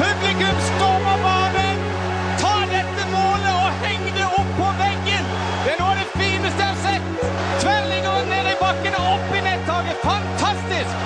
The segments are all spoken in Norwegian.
Publikum stormer banen! Ta dette målet og heng det opp på veggen! Det er noe av det fineste jeg har sett! Tverrliggeren ned i bakken og opp i nettaket! Fantastisk!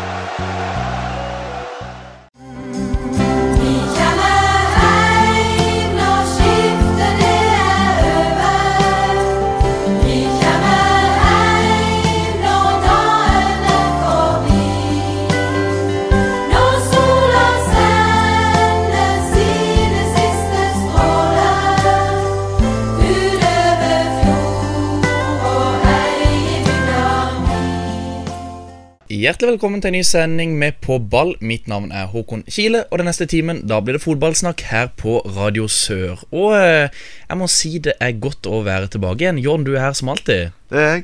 Hjertelig velkommen til en ny sending med På ball. Mitt navn er Håkon Kile, og den neste timen da blir det fotballsnakk her på Radio Sør. Og eh, jeg må si det er godt å være tilbake igjen. Jorn, du er her som alltid. Det er jeg.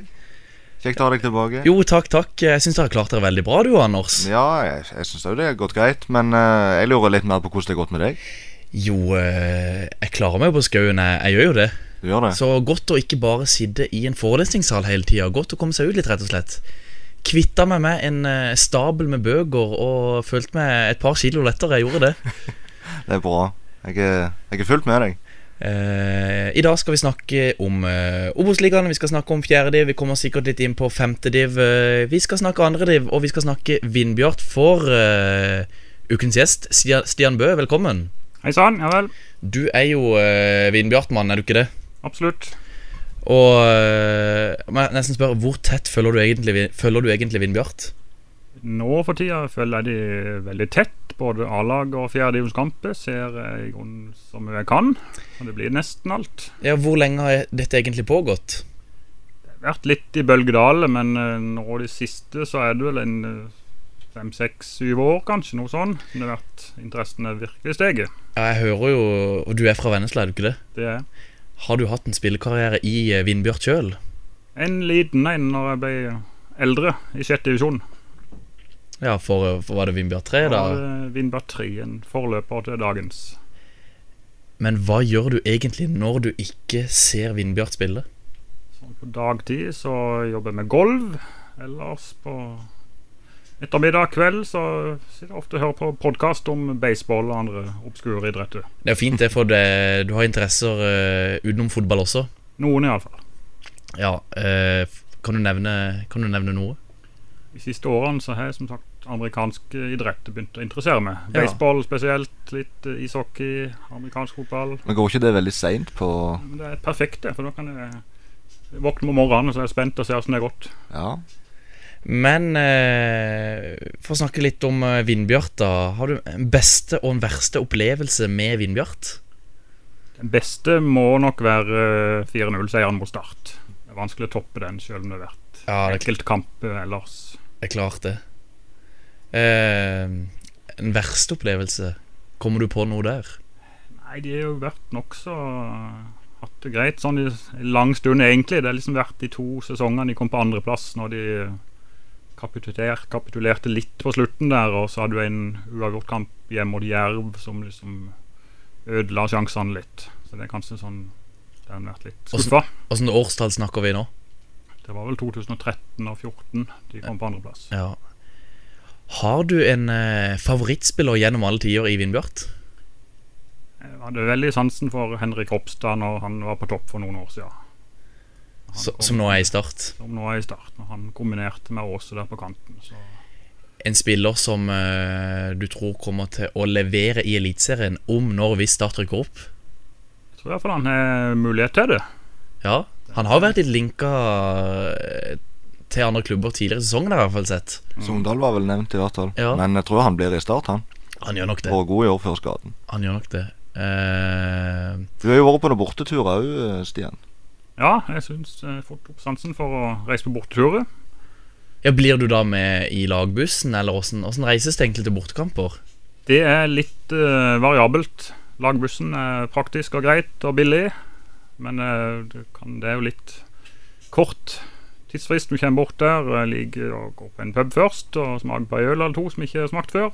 Kjekt å ha deg tilbake. Jo, takk, takk. Jeg syns dere har klart dere veldig bra, du, Anders. Ja, jeg, jeg syns òg det har gått greit, men eh, jeg lurer litt mer på hvordan det har gått med deg. Jo, eh, jeg klarer meg jo på skauen. Jeg, jeg gjør jo det. Du gjør det? Så godt å ikke bare sitte i en forelesningssal hele tida. Godt å komme seg ut litt, rett og slett. Kvitta meg med en eh, stabel med bøker og følte meg et par kilo lettere. Jeg gjorde det. Det er bra. Jeg er, jeg er fullt med deg. Eh, I dag skal vi snakke om uh, Obos-ligaen, vi skal snakke om fjerdediv, vi kommer sikkert litt inn på femtediv. Uh, vi skal snakke andrediv, og vi skal snakke Vindbjart for eh, ukens gjest, Stian, Stian Bø. Velkommen. Hei sann, ja vel. Du er jo uh, Vindbjart-mann, er du ikke det? Absolutt. Og eh, jeg må nesten spørre, hvor tett følger du egentlig, Vin- følger du egentlig Vindbjart? Nå for tida følger jeg de veldig tett. Både A-lag og fjerdedivisjonskamper ser jeg i grunnen så mye jeg kan. Og det blir nesten alt. Ja, hvor lenge har dette egentlig pågått? Det har vært litt i bølgedalet, men eh, nå de siste så er det vel en eh, fem, seks, syv år, kanskje. Noe sånn. Det har vært interessen er virkelig steget. Ja, jeg hører jo Og du er fra Vennesla, er du ikke det? Det er Har du hatt en spillekarriere i eh, Vindbjart sjøl? en liten en når jeg ble eldre, i sjette divisjon. Ja, for, for var det Vindbjart 3, da? eh, Vinner 3, en forløper til dagens. Men hva gjør du egentlig når du ikke ser Vindbjart spille? Sånn På dagtid så jobber jeg med golv. Ellers på ettermiddag kveld så sitter jeg ofte og hører på podkast om baseball og andre obskure idretter. Det er jo fint, det, for det, du har interesser eh, utenom fotball også. Noen iallfall. Ja, eh, f- kan, du nevne, kan du nevne noe? De siste årene så har jeg som sagt amerikanske idretter begynt å interessere meg. Ja. Baseball spesielt, litt eh, ishockey, amerikansk fotball. Men går ikke det veldig seint på Men det er perfekt, det, for da kan jeg våkne om morgenen og så er jeg spent og ser hvordan det har gått. Ja. Men eh, for å snakke litt om eh, Vindbjart, da. Har du en beste og en verste opplevelse med Vindbjart? Den beste må nok være eh, 4-0-seieren mot Start. Det er vanskelig å toppe den, sjøl om det har vært Ja, det er, enkeltkamp eh, ellers. kl- det er klart, det. Eh, en verste opplevelse? Kommer du på noe der? Nei, de har jo vært nokså eh, hatt det greit sånn i en lang stund, egentlig. Det har liksom vært de to sesongene de kom på andreplass, når de eh, kapituler, kapitulerte litt på slutten der, og så hadde du en uavgjortkamp hjemme mot Jerv som liksom ødela sjansene litt. Så det er kanskje sånn Det har vært litt Og så- skuffa. Åssen årstall snakker vi nå? Det var vel 2013 og 2014 de kom på andreplass. Ja. Har du en eh, favorittspiller gjennom alle tider i Vindbjart? Jeg hadde veldig sansen for Henrik Hopstad når han var på topp for noen år siden. Han Så, kom- som nå er i Start. som nå er i starten. og Han kombinerte med Åse der på kanten. Så En spiller som eh, du tror kommer til å levere i Eliteserien om når hvis Start rykker opp. jeg tror i hvert fall han har mulighet til det. Ja, Han har vært litt linka eh, til andre klubber tidligere i sesongen, har jeg i hvert fall sett. Sogndal var vel nevnt, i hvert fall. Ja. Men jeg tror han blir i start, han. Han gjør nok det. Og god i år før skaden. Han gjør nok det. Eh, Du har jo vært på noen borteturer òg, Stian. Ja, jeg syns jeg fort opp sansen for å reise på borteturer. ja, Blir du da med i lagbussen, eller åssen åssen reises det egentlig til bortekamper? Det er litt eh, variabelt. Lagbussen er praktisk og greit og billig, men eh, du kan, det er jo litt kort tidsfrist. Du kommer bort der, eh, ligger og går på en pub først og smaker på en øl eller to som ikke er smakt før.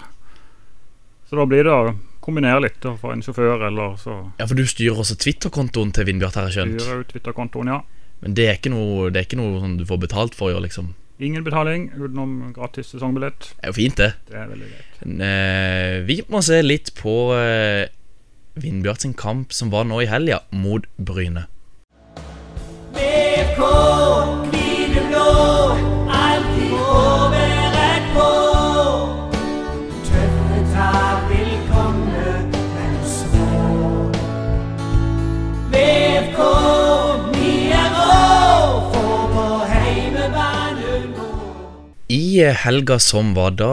Så da blir det å kombinere litt og få en sjåfør, eller så Ja, For du styrer også Twitter-kontoen til Vindbjart, har jeg skjønt. styrer jeg ut Twitter-kontoen, ja. Men det er ikke noe, det er ikke noe sånn du får betalt for i år, liksom. Ingen betaling utenom gratis sesongbillett. Det er jo fint, det. Det er veldig greit. Men, eh, vi må se litt på eh, Vindbjart sin kamp som var nå i helga, mot Bryne. BK, mine blå, alltid overrett på. Tøffe tak vil komme, men så. BK, vi er rå, for på heimebanen nå. I eh, helga som var, da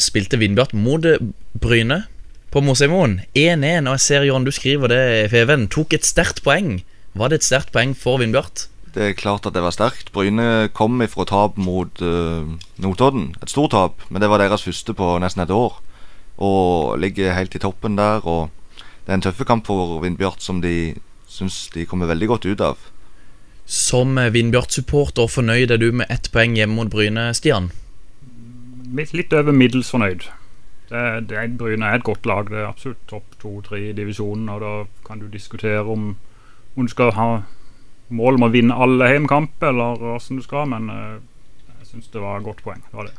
spilte Vindbjart mot eh, Bryne på Mosheimoen. 1-1, og jeg ser, Jørn, du skriver det, Feven. Tok et sterkt poeng. Var det et sterkt poeng for Vindbjart? Det er klart at det var sterkt. Bryne kom ifra tap mot eh, Notodden. Et stort tap, men det var deres første på nesten et år. Og ligger helt i toppen der. Og det er en tøffe kamp for Vindbjart som de syns de kommer veldig godt ut av. Som eh, Vindbjart-supporter, fornøyd er du med ett poeng hjemme mot Bryne, Stian? Litt- Litt over middels fornøyd. Det, det er, Bryne er et godt lag. Det er absolutt topp to-tre i divisjonen. Og da kan du diskutere om, om du skal ha mål om å vinne alle hjemmekamper, eller åssen du skal, men eh, jeg syns det var et godt poeng. Det var det.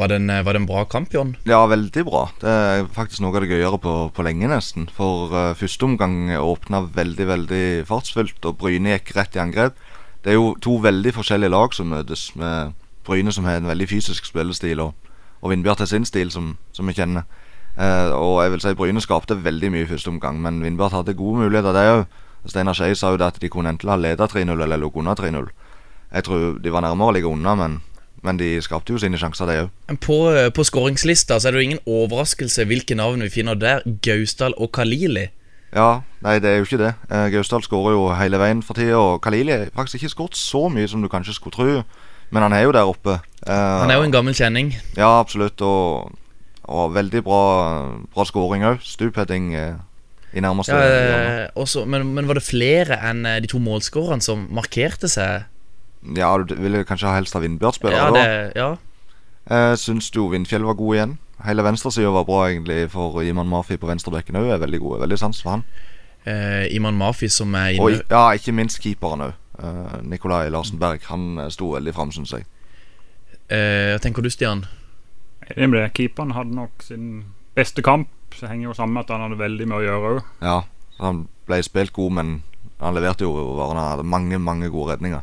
Var det en, eh, var det en bra kamp, Jørn? Ja, veldig bra. Det er faktisk noe av det gøyere på, på lenge, nesten. For eh, første omgang åpna veldig, veldig fartsfullt, og Bryne gikk rett i angrep. Det er jo to veldig forskjellige lag som møtes, med Bryne som har en veldig fysisk spillestil, og, og Vindbjart har sin stil, som, som vi kjenner. Eh, og jeg vil si Bryne skapte veldig mye i første omgang, men Vindbjart hadde gode muligheter, det òg. Steinar Skei sa jo det at de kunne enten ha leda 3-0 eller ligget under 3-0. Jeg tror de var nærmere å ligge unna, men, men de skapte jo sine sjanser, de òg. På, eh, på skåringslista så er det jo ingen overraskelse hvilke navn vi finner der. Gausdal og Kalili. Ja, nei, det er jo ikke det. Eh, Gausdal skårer jo hele veien for tida, og Kalili har faktisk ikke skåret så mye som du kanskje skulle tro, men han er jo der oppe. Eh, Han er jo en gammel kjenning. Ja, absolutt, og, og veldig bra, bra skåring òg. Stupheading eh, i nærmeste Ja, hjørne. eh, også, men, men var det flere enn eh, de to målskårerne som markerte seg? Ja, du ville kanskje helst ha Vindbjart-spillere, Ja, da. det, ja. Eh, syns du Vindfjell var god igjen? Hele venstresida var bra, egentlig, for Iman Mafi på venstrebekken òg er veldig god. Veldig sans for han. Eh, Iman Mafi som er Og inne i- ja, ikke minst keeperen òg. Eh, Nikolai Larsen Berg. Han eh, sto veldig fram, syns jeg. eh, Hva tenker du, Stian? Det ble det. Keeperen hadde nok sin beste kamp. Så henger jo sammen med at han hadde veldig mye å gjøre òg. Ja, så han ble spilt god, men han leverte jo bare han hadde mange, mange gode redninger.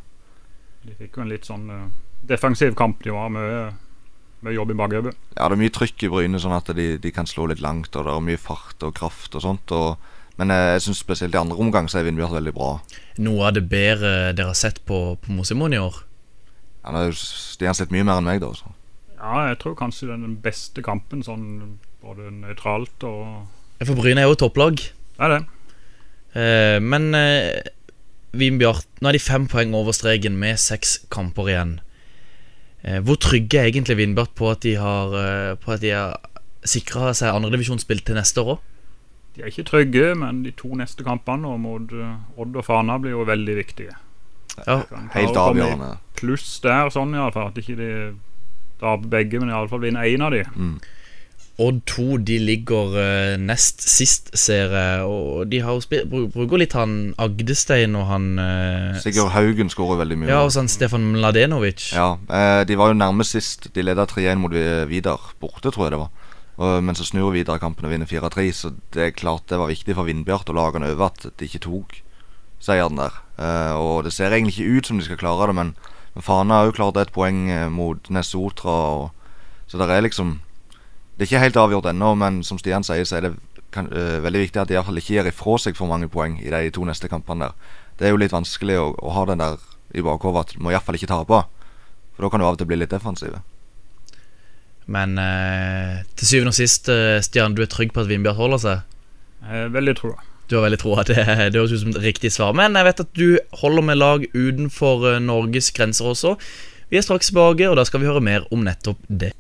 De fikk jo en litt sånn eh, defensiv kamp. De var mye, mye jobb i bakhodet. Ja, det er mye trykk i Bryne, sånn at de, de kan slå litt langt, og det er mye fart og kraft og sånt. Og, men eh, jeg syns spesielt i andre omgang så er Vindbjørn veldig bra. Noe av det bedre dere har sett på, på Mosemoen i år? Han har jo Stian sett mye mer enn meg, da. altså. Så. Ja, jeg tror kanskje det er den beste kampen, sånn både nøytralt og Ja, For Bryne er jo topplag. Det er det. Eh, men eh, Vinbjart, nå er de fem poeng over streken med seks kamper igjen. Eh, hvor trygge er egentlig Vinbjart på at de har, eh, på at de har sikra seg andredivisjonsspill til neste år òg? De er ikke trygge, men de to neste kampene nå mot eh, Odd og Fana blir jo veldig viktige. Ja. Kan klare å Helt komme i avgjørende. Pluss der, sånn iallfall. At ikke de taper begge, men iallfall vinner én av de. Mm. Odd 2 de ligger eh, nest sist, ser jeg. Og de har jo spi- bru- bruker litt han Agdestein og han eh, Sigurd Haugen skårer veldig mye. Ja, og sånn Stefan Mladenovic. Ja, eh, De var jo nærmest sist. De leda 3-1 mot Vi- Vidar borte, tror jeg det var. Og, men så snur Vidar kampen og vinner 4-3, så det er klart det var viktig for Vindbjart og lagene over at de ikke tok seieren der. Eh, og det ser egentlig ikke ut som de skal klare det, men, men Fana har jo klart et poeng eh, mot Nesotra. Og, så det er liksom Det er ikke helt avgjort ennå, men som Stian sier, så er det kan, eh, veldig viktig at de i hvert fall ikke gir ifra seg for mange poeng i de to neste kampene der. Det er jo litt vanskelig å, å ha den der i bakhodet at du må iallfall ikke tape. For da kan du av og til bli litt defensive. Men eh, til syvende og sist, eh, Stian, du er trygg på at Vinbjart holder seg? Eh, veldig trua. Du har veldig troa. Det, det høres ut som et riktig svar. Men jeg vet at du holder med lag utenfor eh, Norges grenser også. Vi er straks tilbake, og da skal vi høre mer om nettopp det.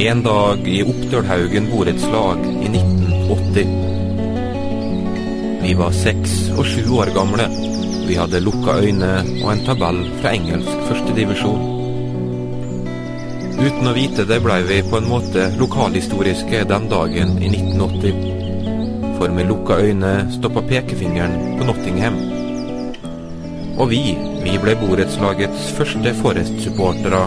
En dag i Oppdølhaugen borettslag i 1980. Vi var seks og sju år gamle. Vi hadde lukka øyne og en tabell fra engelsk førstedivisjon. Uten å vite det blei vi på en måte lokalhistoriske den dagen i 1980. for med lukka øyne stoppa pekefingeren på Nottingham. Og vi, vi ble borettslagets første Forest-supportere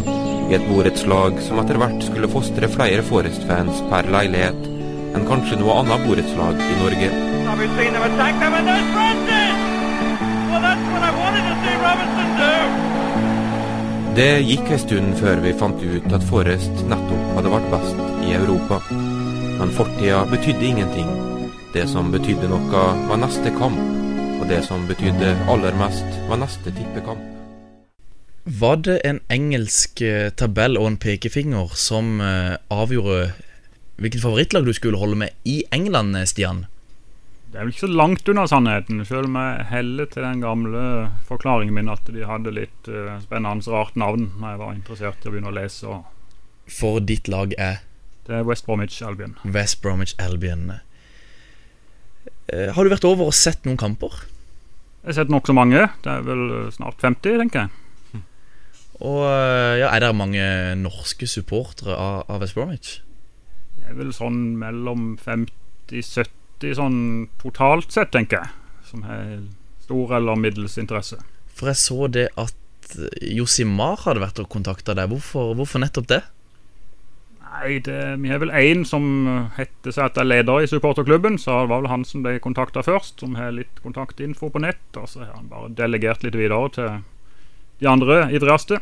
i et borettslag som etter hvert skulle fostre flere Forest-fans per leilighet enn kanskje noe annet borettslag i Norge. Now we've seen them attack them, and there's Francis! Well, that's what I wanted to see Robinson do. Det gikk en stund før vi fant ut at Forest nettopp hadde vært best i Europa. Men fortida betydde ingenting. Det som betydde noe, var neste kamp. Og det som betydde aller mest, var neste tippekamp. Var det en engelsk eh, tabell og en pekefinger som eh, avgjorde hvilket favorittlag du skulle holde med i England, eh, Stian? Det er vel ikke så langt unna sannheten, selv om jeg heller til den gamle forklaringen min at de hadde litt eh, spennende, rart navn når jeg var interessert i å begynne å lese. Og For ditt lag er det er West Bromwich Albion. West Bromwich Albion. Eh, Har du vært over og sett noen kamper? Jeg har sett nokså mange. Det er vel eh, snart 50, tenker jeg. Og eh, ja, Er det mange norske supportere av, av West Bromwich? Det er vel sånn mellom 50-70 sånn totalt sett, tenker jeg. Som har stor eller middels interesse. For jeg så det at Josimar hadde vært og kontakta deg. Hvorfor, hvorfor nettopp det? Nei, det, vi har vel én som heter seg at er leder i supporterklubben, så det var vel han som ble kontakta først, som har litt kontaktinfo på nett, og så har han bare delegert litt videre til de andre ivrigste.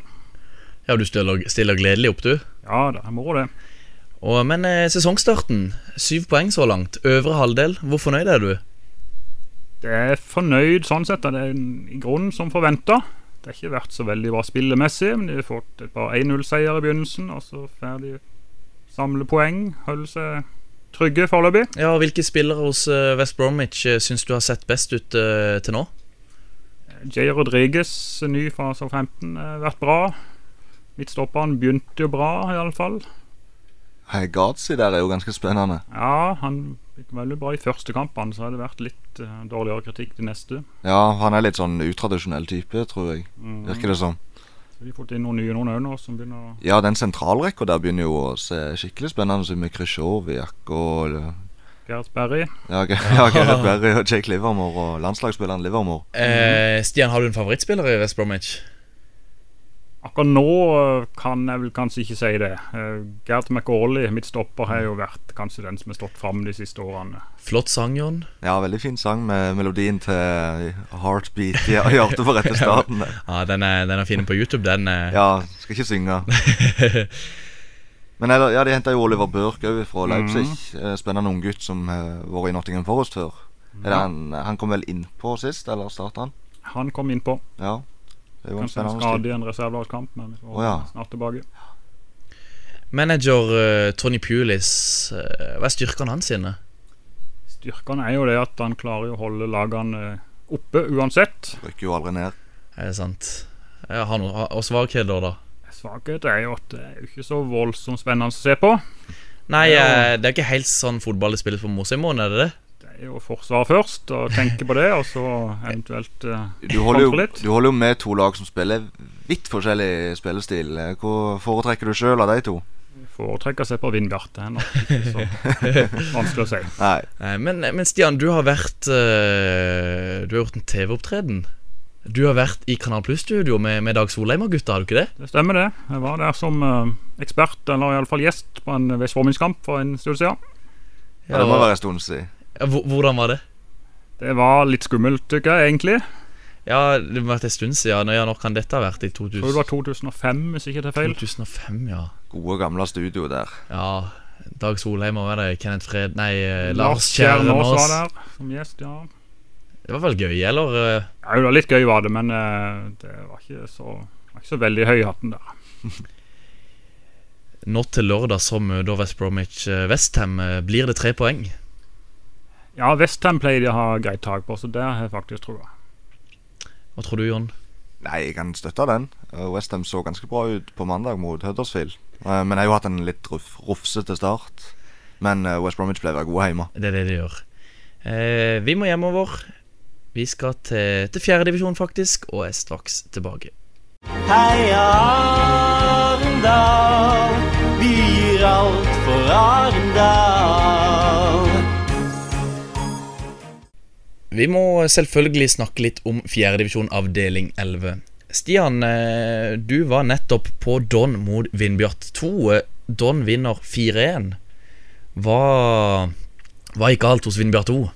Ja, du stiller, stiller gledelig opp, du. Ja, det er moro, det. Og, men eh, sesongstarten, syv poeng så langt. Øvre halvdel, hvor fornøyd er du? Det er fornøyd sånn sett. da. Det er en- i grunnen som forventa. Det har ikke vært så veldig bra spillemessig, men de har fått et par 1-0-seier i begynnelsen, og så får de samle poeng, holde seg trygge foreløpig. Ja, og Hvilke spillere hos eh, West Bromwich eh, syns du har sett best ut eh, til nå? Jay Rodriguez, ny fra Southampton, har vært bra. Midtstopperen begynte jo bra, iallfall. Hei, Gazi der er jo ganske spennende. Ja, han gikk veldig bra i første kampen, så har det vært litt eh, dårligere kritikk de neste. Ja, han er litt sånn utradisjonell type, tror jeg. Virker det som. Så de har fått inn noen nye noen òg nå, som begynner å Ja, den sentralrekka der begynner jo å se skikkelig spennende ut, med Khrusjtsjovjak og Gerhard Sperry. Ja, Ge- ja, Gerhard Berry og Jake Livermore og landslagsspilleren Livermore. Eh, Stian, har du en favorittspiller i West Bromwich? Akkurat nå eh, kan jeg vel kanskje ikke si det. Eh, Gerd McAuley, mitt stopper, har jo vært kanskje den som har stått fram de siste årene. Flott sang, John. Ja, veldig fin sang med melodien til 'Heartbeat' i hjertet på rette staten. Ja, Den er, den er fin på YouTube, den. eh. Ja, skal ikke synge. Men eller, ja, de henta jo Oliver Børk òg Mm. fra Leipzig. Eh, Spennende unggutt som har vært i Nottingham Forest før. Mm. Er det han, han kom vel innpå sist, eller starta han? Han kom innpå. Ja. Det er jo en Kanskje en spennende skade stil. i en reservelagskamp, men vi får Å, ja. snart tilbake. Manager eh, Tony Pulis, eh, hva er styrkene hans sine? Styrkene er jo det at han klarer jo å holde lagene oppe uansett. Rykker jo aldri ned. Er det sant? Jeg har noe, og svakheter, da? Svakhet er jo at det er jo ikke så voldsomt spennende å se på. Nei, Ja. eh, det er ikke helt sånn fotball det spilles på Mosheimoen, er det det? Det er jo forsvar først, og tenke på det, og så eventuelt eh, Du holder, jo, kontre litt. du holder jo med to lag som spiller vidt forskjellig spillestil. Eh, Hva foretrekker du sjøl av de to? Foretrekker seg på Vindbjarte. Det er nok ikke så vanskelig å si. Nei. Nei, men, men Stian, du har vært eh, Du har gjort en TV-opptreden. Du har vært i Kanal Pluss-studio med, med Dag Solheim og gutta, har du ikke det? Det stemmer, det. Jeg var der som eh, ekspert, eller iallfall gjest, på en vestformingskamp for en stund siden. Ja, det må være en stund siden. Ja, hvor- Hvordan var det? Det var litt skummelt, tykker jeg, egentlig. Ja, det har vært en stund siden. Nå- Ja, når kan dette ha vært? I Jeg 2000, tror det var 2005, hvis ikke jeg tar feil. 2005, ja. Gode, gamle studio der. Ja, Dag Solheim og hva er det? Kenneth Fred... Nei, eh, Lars Kjernås var der som gjest, ja. Det var vel gøy, eller? eh? Ja, det var litt gøy, var det, men eh, det var ikke så, var ikke så veldig høy i hatten der. Nå til lørdag så møter West Bromwich eh, Westham. Eh, Blir det tre poeng? Ja, Westham pleier de å ha greit tak på, så der har jeg faktisk trua. Hva tror du, Jon? Nei, jeg kan støtte den. Westham så ganske bra ut på mandag mot Huddersfield. Eh, Men jeg har jo hatt en litt ruf, rufsete start. Men eh, West Bromwich ble vel gode hjemme. Det er det de gjør. Eh, vi må hjemover. Vi skal til, til fjerdedivisjon, faktisk, og er straks tilbake. Heia Arendal, vi gir alt for Arendal. Vi må selvfølgelig snakke litt om fjerdedivisjon avdeling 11. Stian, eh, du var nettopp på Don mot Vindbjart 2. Eh, Don vinner 4-1. Hva, hva gikk galt hos Vindbjart 2?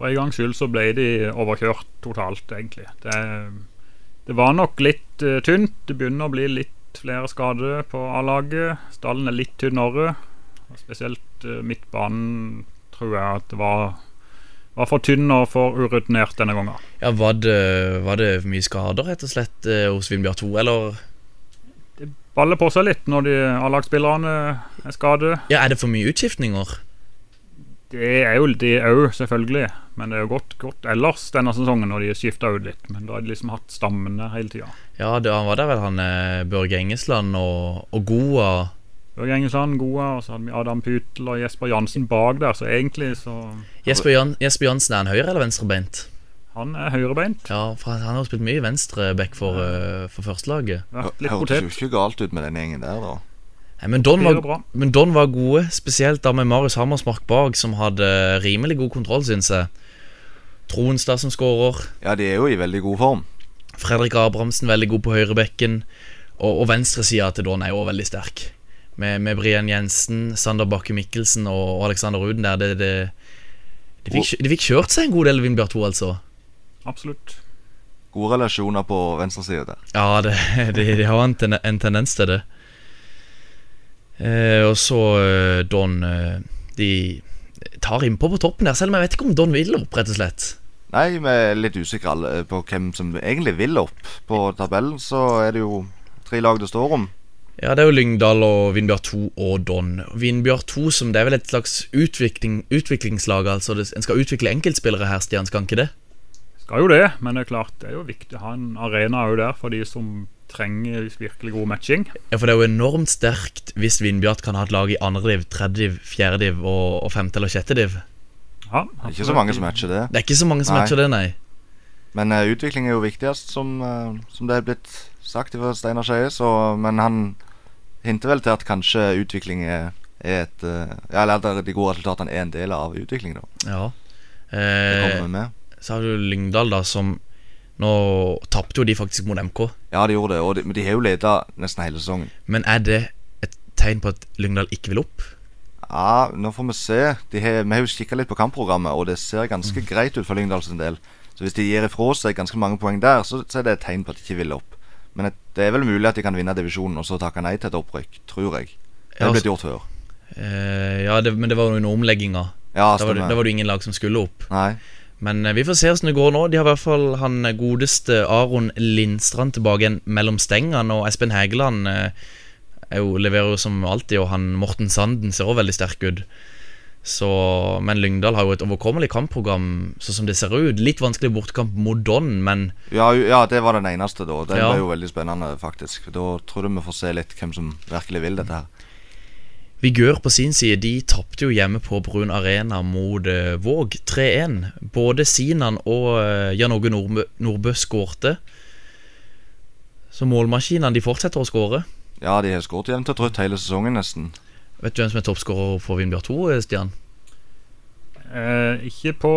For en gangs skyld så ble de overkjørt totalt, egentlig. Det, det var nok litt eh, tynt. Det begynner å bli litt flere skader på A-laget. Stallen er litt tynnere. Og Spesielt eh, midtbanen tror jeg at det var, var for tynn og for urutinert denne gangen. Ja, var det, var det mye skader, rett og slett, eh, hos Vindbjart 2, eller Baller på seg litt når de A-lagsspillerne er skadet. ja, er det for mye utskiftninger? Det er jo de òg, selvfølgelig. Men det er jo godt, godt ellers denne sesongen når de har skifta ut litt. Men da har de liksom hatt stammene hele tida. Ja, det han var der vel han eh, Børge Engesland og, og Goa. Børge Engesland, Goa, og så hadde vi Adam Pytel og Jesper Jansen bak der. Så egentlig så Jesper, Jan, Jesper Jansen, er han høyre- eller venstrebeint? Han er høyrebeint. Ja, for han har jo spilt mye venstreback for, eh, for førstelaget. Vært litt Hørtes jo potet. ikke galt ut med den gjengen der, da. Nei, men, Don Spiller var, bra. men Don var gode, spesielt da med Marius Hammersmark bak, som hadde eh, rimelig god kontroll, syns jeg. Tronstad som skårer. Ja, de er jo i veldig god form. Fredrik Abrahamsen veldig god på høyrebekken. Og, og venstresida til Don er jo også veldig sterk. Med, med Brian Jensen, Sander Bakke Mikkelsen og, og Alexander Ruden der. Det, det, de, fikk, kjø- de fikk kjørt seg en god del, Vindbjørn 2, altså. Absolutt. Gode relasjoner på venstresida der. Ja, det, de, de har en, ten, en tendens til det. Eh, og så eh, Don eh, De tar innpå på toppen der, selv om jeg vet ikke om Don vil opp, rett og slett. Nei, vi er litt usikre alle eh, på hvem som egentlig vil opp. På tabellen så er det jo tre lag det står om. Ja, det er jo Lyngdal og Vindbjørn 2 og Don. Vindbjørn 2 som det er vel et slags utvikling, utviklingslag, altså. Det, en skal utvikle enkeltspillere her, Stian, skal en ikke det? Skal jo det, men det er klart det er jo viktig å ha en arena òg der for de som trenger virkelig god matching. Ja, for det er jo enormt sterkt hvis Vindbjørn kan ha et lag i andre div, tredje div, fjerde div og, og femte eller sjette div. Ja, Ikke så mange som matcher det. Det er ikke så mange som Nei. matcher det, nei. Men eh, utvikling er jo viktigst, som, eh, som det er blitt sagt fra Steinar Skeie. så- Men han hinter vel til at kanskje utvikling er, er et eh, Ja, eller at de gode resultatene er en del av utviklingen, da. Ja. Det Eh, kommer vi med. så har du Lyngdal, da, som Nå tapte jo de faktisk mot MK, Ja, de gjorde det. Og de, men de har jo leda nesten hele sesongen. men er det et tegn på at Lyngdal ikke vil opp? Ja, nå får vi se. De har, vi har jo kikka litt på kampprogrammet, og det ser ganske Mm. greit ut for Lyngdal sin del. Så hvis de gir ifra seg ganske mange poeng der, så, så er det et tegn på at de ikke vil opp. Men et, det er vel mulig at de kan vinne divisjonen og så takke nei til et opprykk, tror jeg. Det Ja, har altså- blitt gjort før. Eh, ja, det, men det var jo under omlegginga. Ja, Da var, det, da stemmer. var det jo ingen lag som skulle opp. Nei. Men eh, vi får se hvordan det går nå. De har i hvert fall han eh, godeste Aron Lindstrand tilbake igjen mellom stengene, og Espen Hægeland eh, er jo, leverer jo som alltid, og han Morten Sanden ser også veldig sterk ut. Så, men Lyngdal har jo et overkommelig kampprogram, sånn som det ser ut. Litt vanskelig bortekamp mot Don, men Ja, u- ja, det var den eneste, da. Det Ja. ble jo veldig spennende, faktisk. Da tror jeg vi får se litt hvem som virkelig vil dette her. Vigør på sin side de tapte jo hjemme på Brun Arena mot eh, Våg 3-1. Både Sinan og eh, Jan Åge Nordbø, Nordbø skårte. Så målmaskinene de fortsetter å skåre. Ja, de har skåret jevnt og trutt hele sesongen, nesten. Vet du hvem som er toppskårer for Vindbjørn 2, Stian? Eh, ikke på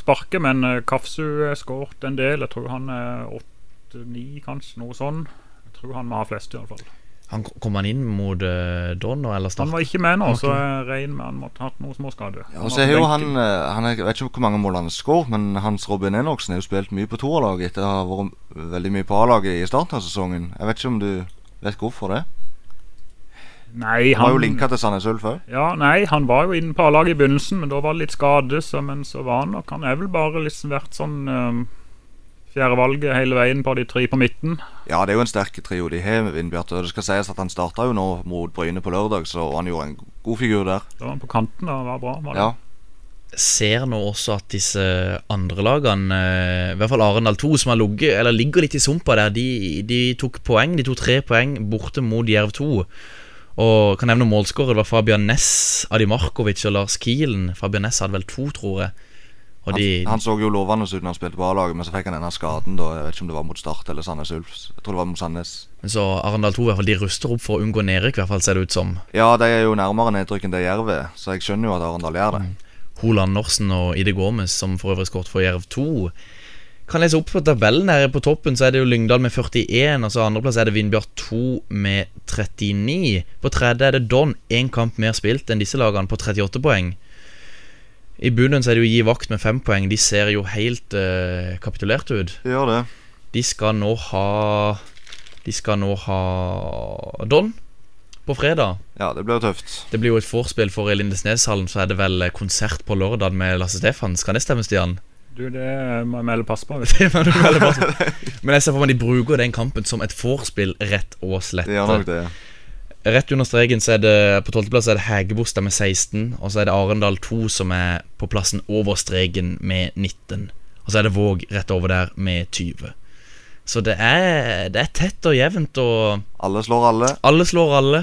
sparket, men eh, Kafsu har skåret en del. Jeg tror han er åtte-ni, kanskje. Noe sånn. Jeg tror han må ha flest, iallfall. Han Kom han inn mot eh, Don nå, eller Han Start? var ikke med nå, Han var så jeg regner med han måtte ha hatt noe småskade. Ja, Han og så var er på jo han, benken. eh, han er, Jeg vet ikke hvor mange mål han har skåret, men Hans Robin Enoksen har jo spilt mye på toerlaget etter å ha vært veldig mye på A-laget i starten av sesongen. Jeg vet ikke om du vet hvorfor det? Nei, Han var jo han, linka til Sandnes Ulf òg. ja, nei, han var jo inne på A-laget i begynnelsen, men da var det litt skade. Så, men så var han nok Han er vel bare liksom vært sånn um, fjerdevalget hele veien på de tre på midten. Ja, det er jo en sterk trio de har med Vindbjarte. Og det skal sies at han starta jo nå mot Bryne på lørdag, så han gjorde en god figur der. Da var han på kanten og var bra. Var det? Ja, Ser nå også at disse andre lagene, eh, i hvert fall Arendal 2, som har ligget, eller ligger litt i sumpa der, de, de tok poeng, de tok tre poeng borte mot Jerv 2. Og kan nevne målskårer, det var Fabian Ness, Adi Markovic og Lars Kielen. Fabian Ness hadde vel to, tror jeg. Og han, de, han så jo lovende ut når han spilte på A-laget, men så fikk han denne skaden, da. Jeg vet ikke om det var mot Start eller Sandnes Ulf. Jeg tror det var mot Sandnes. Så Arendal 2 i hvert fall, de ruster opp for å unngå nedrykk, i hvert fall ser det ut som. Ja, de er jo nærmere nedrykk enn det Jerv er, så jeg skjønner jo at Arendal gjør det. Holand Norsen og Ide Gomez, som for øvrig skåret for Jerv 2. Kan lese opp på tabellen her På toppen så er det jo Lyngdal med 41, og så andreplass er det Vindbjart 2 med 39. På tredje er det Don, én kamp mer spilt enn disse lagene, på 38 poeng. I bunnen så er det jo Gi Vakt med 5 poeng. De ser jo helt eh, kapitulert ut. De gjør det. De skal nå ha De skal nå ha Don på fredag. Ja, det blir jo tøft. Det blir jo et vorspiel for i Lindesneshallen, så er det vel eh, konsert på lørdag med Lasse Stefans. Kan det stemme, Stian? Du, det må jeg melde pass på. vet du. Det var noe veldig bra. Men jeg ser for meg de bruker den kampen som et vorspiel, rett og slett. De gjør nok det. Rett under streken så er det på tolvteplass er det Hægebostad med 16, og så er det Arendal 2 som er på plassen over streken med 19. Og så er det Våg rett over der med 20. Så det er, det er tett og jevnt, og Alle slår alle. alle slår alle.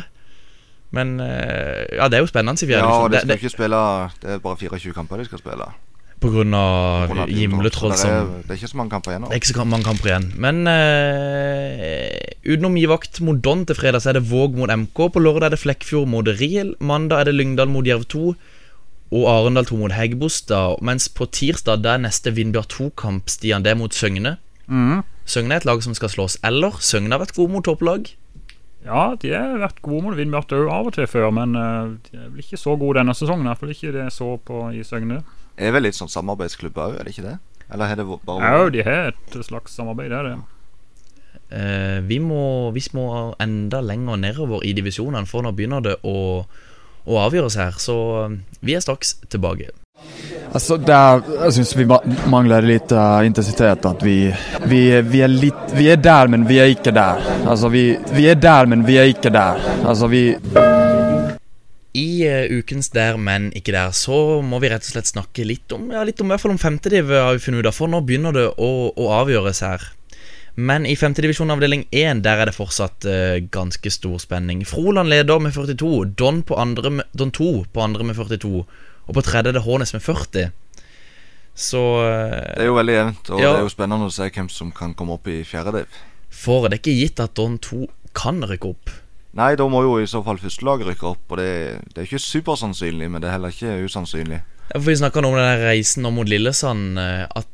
Men eh, ja, det er jo spennende i fjerde. Ja, divisjon. og de Det- skal det- ikke spille Det er bare 24 kamper de skal spille. På grunn av Hvordan er det? Gimletroll Det er, som det er ikke så mange kamper igjen nå. Det er ikke så kam- mange kamper igjen. Men eh, utenom Givakt mot Don til fredag, så er det Våg mot MK. På lørdag er det Flekkfjord mot Riel. Mandag er det Lyngdal mot Jerv 2. Og Arendal 2 mot Heggebostad. Mens på tirsdag det er neste Vindbjørn 2-kamp, Stian, det er mot Søgne. Søgne er et lag som skal slås. Eller Søgne har vært gode mot topplag. Ja, de har vært gode mot Vindbjart òg av og til før, men eh, de er vel ikke så gode denne sesongen. i hvert fall ikke det jeg så på i Søgne. Er vel litt sånn samarbeidsklubb òg, er det ikke det? Eller har det vært bare Au, de har et slags samarbeid, det er det. Eh, vi, må, vi må enda lenger nedover i divisjonene, for nå begynner det å, å avgjøres her. Så eh, vi er straks tilbake. Alltså där, jag syns vi ma- manglar lite eh, intensitet. Att vi, vi, vi, är lite, vi är där men vi är inte där. Alltså vi, vi är där men vi är inte där. Alltså vi, I eh, ukens Der, men ikke der, så må vi rett og slett snakke litt om Ja, litt om i hvert fall om femtediv, eh, har vi funnet ut av, for nå begynner det å, å avgjøres her. Men i femtedivisjon avdeling 1 der er det fortsatt eh, ganske stor spenning. Froland leder med 42, Don, på andre med, Don 2 på andre med 42, og på tredje er det Hånes med 40. Så eh, Det er jo veldig jevnt, og Ja. det er jo spennende å se hvem som kan komme opp i fjerde div. For det er ikke gitt at Don 2 kan rykke opp. Nei, da må jo i så fall førstelaget rykke opp, og det, det er ikke supersannsynlig, men det er heller ikke usannsynlig. Ja, for Vi snakka om den der reisen nå mot Lillesand, eh, at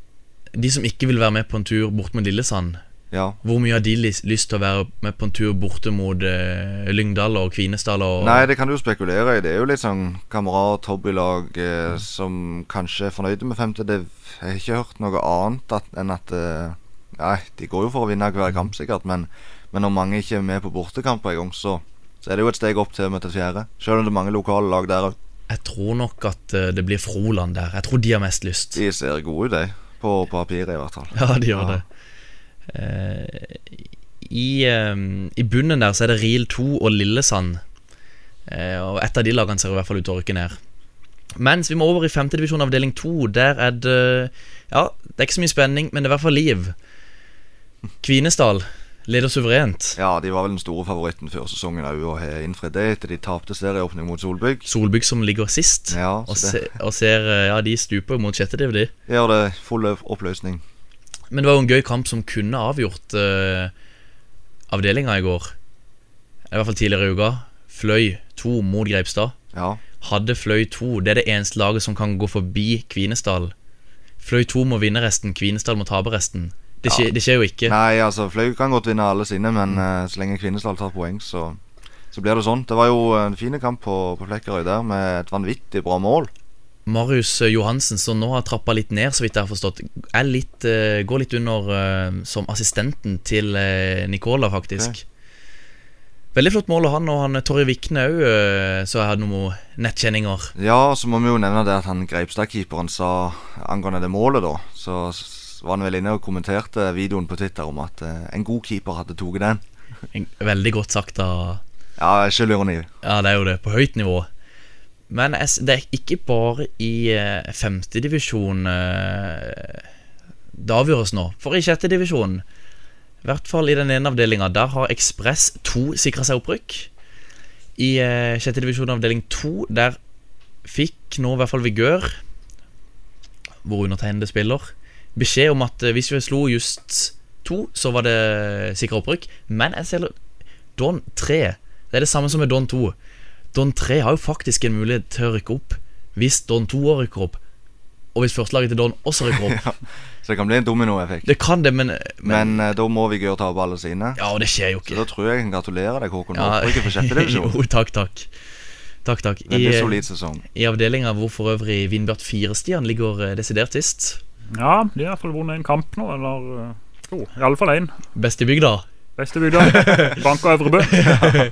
de som ikke vil være med på en tur bort mot Lillesand Ja. Hvor mye har de lis- lyst til å være med på en tur borte mot eh, Lyngdal og Kvinesdal? Og, Nei, det kan du jo spekulere i. Det er jo litt sånn kamerat, hobbylag eh, som kanskje er fornøyde med femte div. Jeg har ikke hørt noe annet at, enn at eh, Nei, de går jo for å vinne hver kamp, sikkert, men, men når mange ikke er med på bortekamper engang, så, så er det jo et steg opp til å møte fjerde. Selv om det er mange lokale lag der òg. Jeg tror nok at eh, det blir Froland der. Jeg tror de har mest lyst. De ser gode ut, de. På på papiret, i hvert fall. Ja, de gjør Ja. det. Eh, i, eh, I bunnen der så er det Riel 2 og Lillesand. Eh, og ett av de lagene ser i hvert fall ut til å rykke ned. Mens vi må over i femtedivisjon avdeling 2. Der er det Ja, det er ikke så mye spenning, men det er i hvert fall liv. Kvinesdal leder suverent. Ja, de var vel den store favoritten før sesongen òg, og har innfridd det etter de tapte serieåpning mot Solbygg. Solbygg som ligger sist. Ja, og, så se, det og ser eh, Ja, de stuper mot sjette div, de. gjør det full opp- oppløsning. Men det var jo en gøy kamp som kunne avgjort uh, avdelinga i går. I hvert fall tidligere i uka. Fløy 2 mot Greipstad. Ja. Hadde Fløy 2 Det er det eneste laget som kan gå forbi Kvinesdal. Fløy 2 må vinne resten, Kvinesdal må tape resten. Det skjer, det skjer jo ikke. Nei, altså Fløy kan godt vinne alle sine, Mm. men eh, så lenge Kvinesdal tar poeng, så, så blir det sånn. Det var jo en fin kamp på, på Flekkerøy der, med et vanvittig bra mål. Marius Johansen, som nå har trappa litt ned, så vidt jeg har forstått, er litt, eh, går litt under eh, som assistenten til eh, Nicola, faktisk. Veldig flott mål, og han og han eh, Torje Vikne eh, òg, så jeg hadde noen nettkjenninger. Ja, så må vi jo nevne det at han Greipstad-keeperen sa angående det målet, da. Så s- var han vel inne og kommenterte videoen på Twitter om at eh, en god keeper hadde tatt den. En- Veldig godt sagt av Ja, ikke lureni. Ja, det er jo det, på høyt nivå. Men jeg s- det er ikke bare i eh, femtedivisjon eh, det avgjøres nå. For i sjettedivisjon, i hvert fall i den ene avdelinga, der har Ekspress 2 sikra seg opprykk. I eh, sjettedivisjon avdeling 2, der fikk nå i hvert fall Vigør, hvor undertegnede spiller, beskjed om at eh, hvis vi slo Just 2, så var det sikra opprykk. Men jeg ser Don 3 Det er det samme som med Don 2. Don 3 har jo faktisk en mulighet til å rykke opp hvis Don 2 rykker opp, og hvis førstelaget til Don også rykker opp. Så det kan bli en dominoeffekt. Det kan det, men, men Men eh, da må Vigør tape alle sine. Ja, og det skjer jo Så da ikke. tror jeg jeg kan gratulere deg, Håkon Ja. Håkon, ikke for sjettedivisjon. jo, takk, takk. Takk, takk. I, eh, Veldig solid sesong. i avdelinga hvor for øvrig Vindbjart Firestian ligger eh, desidert sist. Ja, de har iallfall vunnet en kamp nå, eller eh, to. Iallfall én. Best i bygda. Beste bygda. Bank og Øvrebø.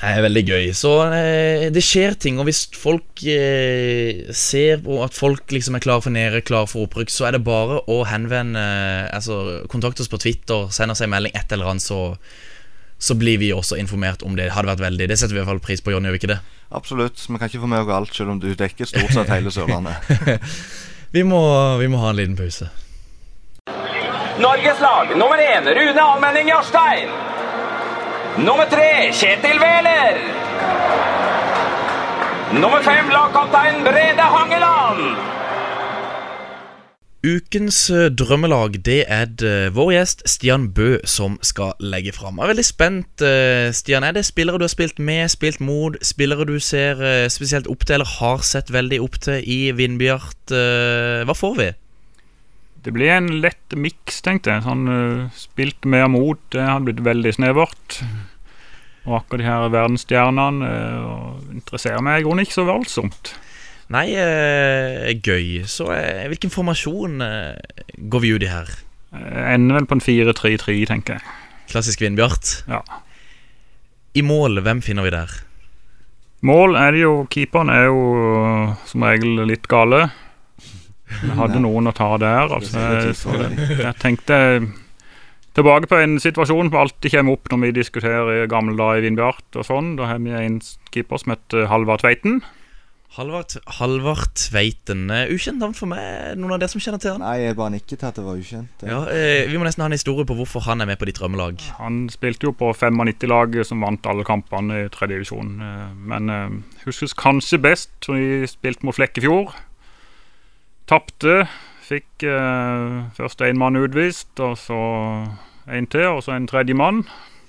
Det er veldig gøy. Så eh, det skjer ting, og hvis folk eh, ser på at folk liksom er klare for nede, klare for opprykk, så er det bare å henvende eh, Altså, kontakt oss på Twitter, send oss en melding, et eller annet, så så blir vi også informert om det. Det hadde vært veldig Det setter vi i hvert fall pris på, Jonny, gjør vi ikke det? Absolutt. Vi kan ikke få med oss alt, selv om du dekker stort sett hele Sørlandet. Vi må, vi må ha en liten pause. Norges lag nummer én Rune Almenning Jarstein. Nummer tre Kjetil Wæler. Nummer fem lagkaptein Brede Hangeland. Ukens eh, drømmelag det er det vår gjest Stian Bø som skal legge fram. Jeg er veldig spent. eh, Stian, Er det spillere du har spilt med, spilt mot, spillere du ser eh, spesielt opp til eller har sett veldig opp til i Vindbjart? Eh, Hva får vi? Det blir en lett miks, tenkte jeg. Sånn, eh, spilt mer mot, det har blitt veldig snevert. Og akkurat de her verdensstjernene eh, og interesserer meg i grunnen ikke så voldsomt. Nei, eh, gøy. Så eh, hvilken formasjon eh, går vi ut i her? Eh, Ender vel på en 4-3-3, tenker jeg. Klassisk Vindbjart. Ja. I mål, hvem finner vi der? Mål er det jo Keeperen er jo eh, som regel litt gale. Jeg hadde noen å ta der. Altså, jeg, jeg tenkte eh, tilbake på en situasjon som alltid kommer opp når vi diskuterer gamle dager i Vindbjart og sånn. Da har vi en keeper som heter Halvard Tveiten. Halvard, Halvard Tveiten. Eh, Ukjent navn for meg. Er det Noen av dere som kjenner til han? Nei, jeg bare nikket til at det var ukjent. Ja, eh, Vi må nesten ha en historie på hvorfor han er med på ditt drømmelag. Han spilte jo på 95-laget som vant alle kampene i tredje divisjon. eh, Men eh, huskes kanskje best da vi spilte mot Flekkefjord. Tapte. Fikk eh, først én mann utvist, og så én til, og så en tredje mann.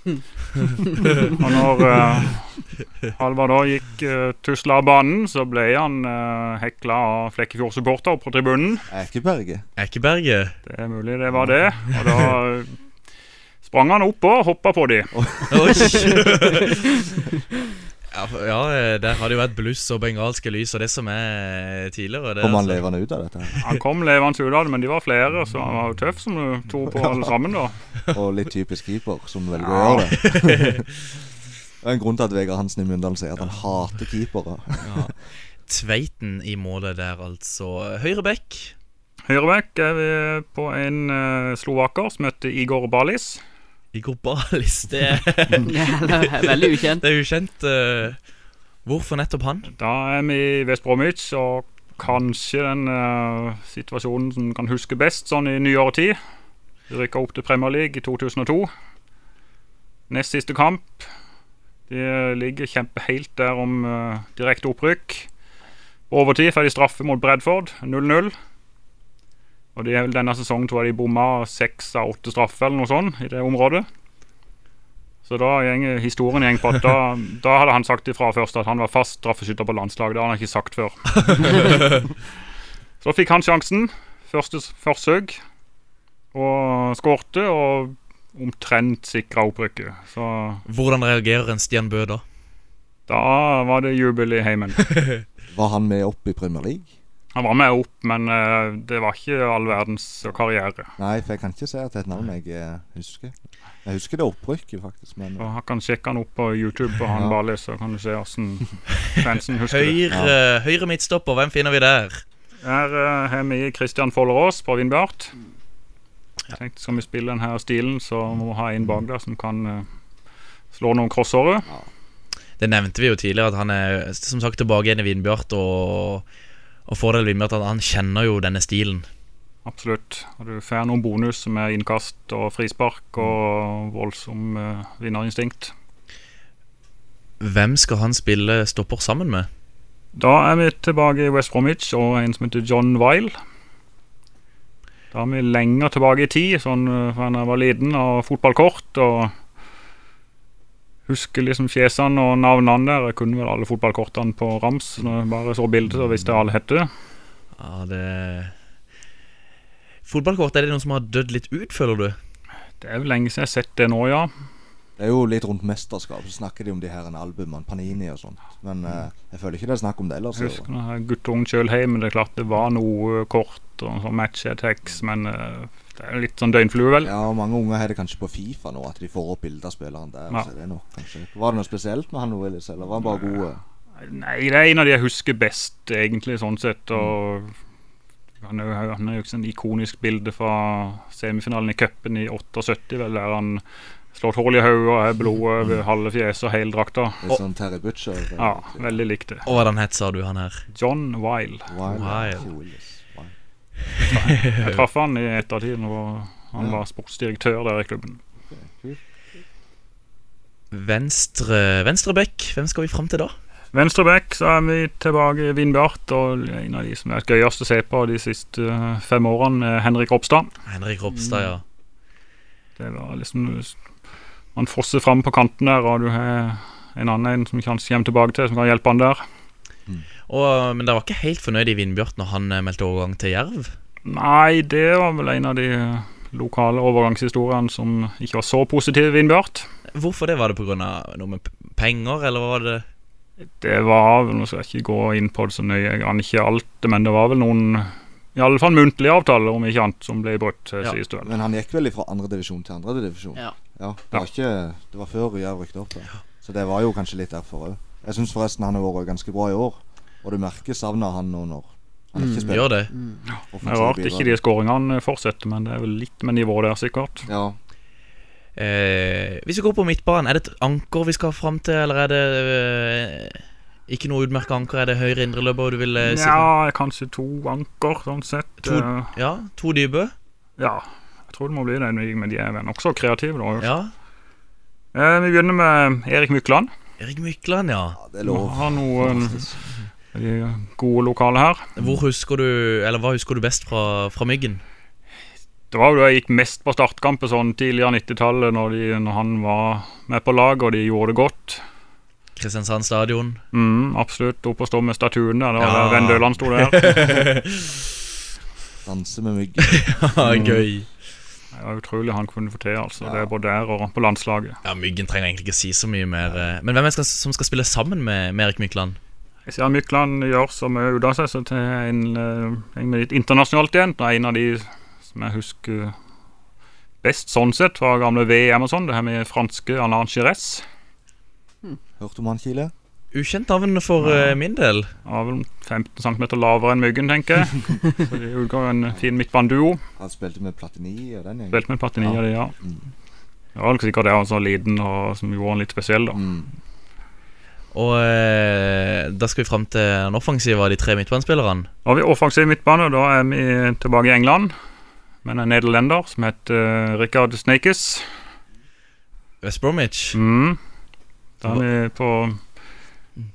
og når eh, Halvard da gikk eh, tusla av banen, så ble han eh, hekla av Flekkefjord-supporter på tribunen. Ekeberget. Ekeberget. Det er mulig det var det. Og da eh, sprang han opp og hoppa på de. Oi! ja, for- ja, eh, der har det jo vært bluss og bengalske lys og det som er tidligere. Det, Kommer han altså. levende ut av dette? her? Han kom levende ut av det, men de var flere, så han var jo tøff som du tror på alle sammen, da. Og litt typisk keeper, som velger å gjøre det. Det er en grunn til at Vegard Hansen i Myndalen sier at han hater keepere. Tveiten i målet der, altså. Høyre bekk. Høyrebekk er vi på en eh, slovaker som heter Igor Balis. Igor Balis, det, er- Veldig ukjent. det er ukjent. eh, Hvorfor nettopp han? Da er vi i West Bromwich, og kanskje den eh, situasjonen som kan huske best sånn i nyere tid. De rykka opp til Premier League i 2002. Nest siste kamp. De ligger kjempe helt der om eh, direkte opprykk. Overtid får de straffe mot Bradford, 0-0. Og de er vel denne sesongen tror jeg de bomma seks av åtte straffer eller noe sånt i det området. Så da gjeng, historien gjeng på at da, da hadde han sagt ifra først at han var fast straffeskytter på landslaget. Det har han ikke sagt før. Så fikk han sjansen. Første s- forsøk. Og skårte og omtrent sikra opprykket. Så Hvordan reagerer en Stian Bø da? da var det jubel i heimen. Var han med opp i Premier League? Han var med opp, men eh, det var ikke all verdens karriere. Nei, for jeg kan ikke si at det er et navn jeg eh, husker. Jeg husker det opprykket, faktisk. Men Så han kan sjekke han opp på YouTube, og han Ja. bare leser, så kan du se åssen fansen husker det. Høyre, høyre midtstopper, hvem finner vi der? Her eh, har vi Kristian Follerås på Vindbjart. Jeg tenkte Skal vi spille denne stilen, så må vi ha en bak der som kan eh, slå noen crossåre. Det nevnte vi jo tidligere, at han er som sagt tilbake igjen i Vindbjart. Og, og fordelen ved Vindbjart er at han kjenner jo denne stilen. Absolutt. Og du får noen bonus med innkast og frispark og voldsom eh, vinnerinstinkt. Hvem skal han spille stopper sammen med? Da er vi tilbake i West Bromwich og en som heter John Weil. Da er vi lenger tilbake i tid, sånn eh, for han var liten og fotballkort. og husker liksom fjesene og navnene der. Jeg kunne vel alle fotballkortene på rams. Når jeg bare så bildet, så visste jeg alle het det. Ja, det Fotballkort, er det noen som har dødd litt ut, føler du? Det er jo lenge siden jeg har sett det nå, ja. Det er jo litt rundt mesterskap, så snakker de om de her albumene, Panini og sånt. Men eh, jeg føler ikke det er snakk om det ellers. i Jeg år. husker når jeg var guttungen sjøl hjemme. Det er klart det var noe kort og sånn match attacks, men eh, det er jo litt sånn døgnflue, vel. Ja, og Mange unger har det kanskje på Fifa nå, at de får opp bilder av spilleren der. Ja. Så det er nok, kanskje. Var det noe spesielt med han Willis, eller var han bare god? eh? Nei, det er en av de jeg husker best, egentlig, sånn sett. Og han er jo- han er jo ikke sånn ikonisk bilde fra semifinalen i cupen i 78, vel, der han slår et hull i hodet og er blod over halve fjeset og hele drakta. Litt sånn Terry Butcher. det er Ja, veldig likt det. Og hva den het, sa du, han her? John Wile. Wilde, Wilde. ikke Willis. Wilde. Jeg traff han i ettertid når han Ja. var sportsdirektør der i klubben. Venstre, venstre back, hvem skal vi fram til da? Venstre back, så er vi tilbake i Vindbjart, og en av de som er gøyest å se på de siste eh, fem årene, er Henrik Ropstad. Henrik Ropstad, ja. Det var liksom Man fosser fram på kanten der, og du har en annen en som kanskje kommer tilbake til, som kan hjelpe han der. Og, men dere var ikke helt fornøyd i Vindbjart når han eh, meldte overgang til Jerv? Nei, det var vel en av de lokale overgangshistoriene som ikke var så positiv, Vindbjart. Hvorfor det? Var det pga. noe med p- penger, eller hva var det? Det var vel, Nå skal jeg ikke gå inn på det så nøye, jeg aner ikke alt, men det var vel noen i alle fall muntlige avtaler, om ikke annet, som ble brutt, eh, sies det vel. Men han gikk vel fra andre divisjon til andre divisjon? Ja. det, var ikke, det var før Jerv rykket opp. Da. Så det var jo kanskje litt derfor òg. Jeg syns forresten han har vært ganske bra i år. Og du merker savnet av han nå når han Mm, ikke spiller. gjør det. Det er rart ikke de skåringene fortsetter, men det er vel litt med nivået der, sikkert. Ja. Eh, hvis vi går på midtbanen, er det et anker vi skal fram til, eller er det eh, ikke noe utmerket anker? Er det høyre indreløper du vil eh, si? Ja, kanskje to anker, sånn sett. To- Eh, ja, to dype. Ja, jeg tror det må bli det, men de er vel nokså kreative, da. Ja. Eh, vi begynner med Erik Mykland. Erik Mykland, ja. det er lov. Vi har noen de gode lokale her. Hvor husker du, eller Hva husker du best fra, fra Myggen? Det var jo da jeg gikk mest på startkamper sånn tidligere 90-tallet, når, de- når han var med på lag, og de gjorde det godt. Kristiansand stadion. Mm, absolutt. Opp og stå med statuen der. Det var Ja. der Vendøland sto der. Danse med myggen. Ja, gøy. Det var utrolig han kunne få til, altså. Det er både der og på landslaget. Ja, Myggen trenger egentlig ikke si så mye mer. eh, Men hvem er det skal, som skal spille sammen med, med Erik Mykland? Jeg ser Mykland gjør så mye ut av seg, så til en, eh, en med litt internasjonalt igjen. Det er en av de som jeg husker best sånn sett fra gamle VM og sånn. Det her med franske Alain Chires. Hørte om han Kile? Ukjent navn for eh, min del. Var vel 15 cm lavere enn Myggen, tenker jeg. Så de utgår en fin midtbaneduo. Han spilte med Platini og den gjengen. Spilte med Platini og de, ja. Det var nok sikkert det han så liten og som gjorde han litt spesiell, da. Mm. Og eh, da skal vi fram til den offensive av de tre midtbanespillerne. Da har vi offensiv midtbane, og da er vi tilbake i England. Med en nederlender som heter Rikard Snakes. West Bromwich. Mm. Da er vi på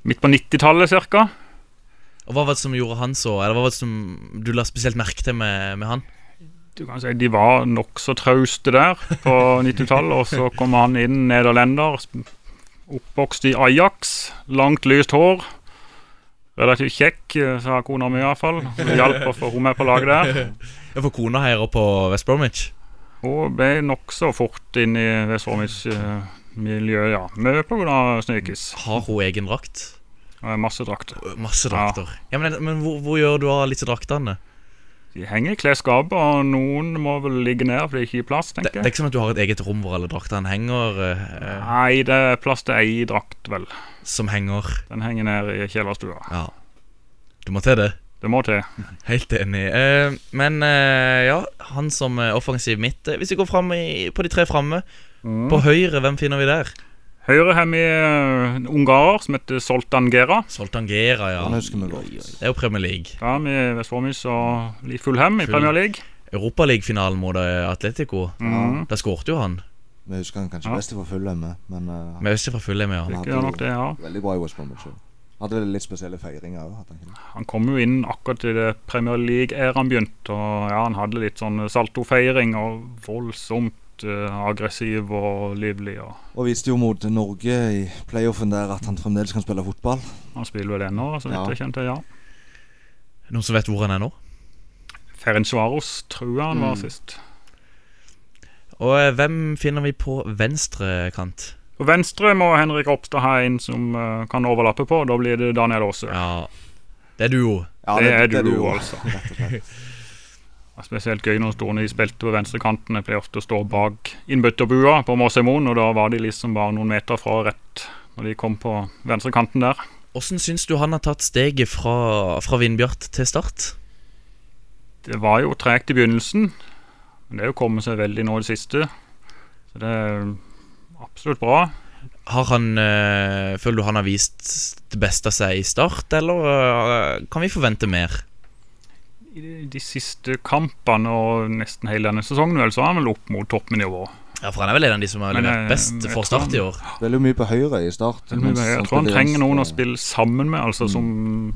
midt på 90-tallet ca. Og Hva var det som gjorde han så? Eller hva var det som du la spesielt merke til med, med han? Du kan si De var nokså trauste der på 90-tallet, og så kom han inn, nederlender. sp- Oppvokst i Ajax. Langt, lyst hår. Relativt kjekk, eh, sa kona mi iallfall. Hjalp å få henne med på laget der. Ja, For kona heier på West Bromwich. Hun ble nokså fort inn i Vesormic-miljøet, ja. Mye pga. Snikis. Har hun egen drakt? Masse drakter. Masse drakter. Ja, Men, men hvor, hvor gjør du av disse draktene? De henger i klesskapet, og noen må vel ligge ned, for det er ikke plass, Det, det tenker er ikke som at du har et eget rom hvor alle draktene henger? eh, eh, Nei, det er plass til ei drakt, vel. Som henger. Den henger ned i kjellerstua. Ja. Du må til det. Det må til. Helt enig. Eh, men eh, ja, han som er offensiv midt eh, Hvis vi går fram i, på de tre framme Mm. På høyre, hvem finner vi der? Høyre har vi eh, en ungarer som heter Soltan Gera. Soltan Gera, ja. Han husker vi godt. Det er jo Premier League. Ja, vi er West Bromwich og i Fulham i Full- Premier League. Europaligafinalen mot eh, Atletico. Mm. Mhm. Da skårte jo han. Vi husker han kanskje Ja. best fra fulle med, men eh, han- Vi husker fra Fulham, ja. han Ikke hadde nok det, ja. Veldig bra i West Bromwich. også. Hadde vel litt spesielle feiringer òg, hadde han ikke det? Han kom jo inn akkurat i det Premier League-æraen begynte, og ja, han hadde litt sånn saltofeiring og voldsomt ut eh, aggressiv og livlig. Og Og viste jo mot Norge i playoffen der at han fremdeles kan spille fotball. han spiller vel ennå, så vidt Ja. jeg kjente. ja. Noen som vet hvor han er nå? Ferencvaros tror jeg han Mm. var sist. Og eh, hvem finner vi på venstre kant? På venstre må Henrik Ropstad ha en som eh, kan overlappe på. Da blir det Daniel Aase. Det er duo. Ja, det, er duo, altså. Det er spesielt gøy når Storny spilte på venstrekanten. Jeg pleier ofte å stå bak innbytterbua på Måsemoen, og da var de liksom bare noen meter fra rett når de kom på venstrekanten der. Hvordan syns du han har tatt steget fra, fra Vindbjart til Start? Det var jo tregt i begynnelsen, men det er jo kommet seg veldig nå i det siste. Så det er absolutt bra. Har han, eh, Føler du han har vist det beste av seg i start, eller eh, kan vi forvente mer? I de, de siste kampene og nesten hele denne sesongen vel, så er han vel opp mot toppnivå. Ja, for han er vel en av de som har Men, levert eh, best jeg for tror Start i år. Veldig mye på høyre i start. Jeg tror han trenger noen å spille sammen med, altså som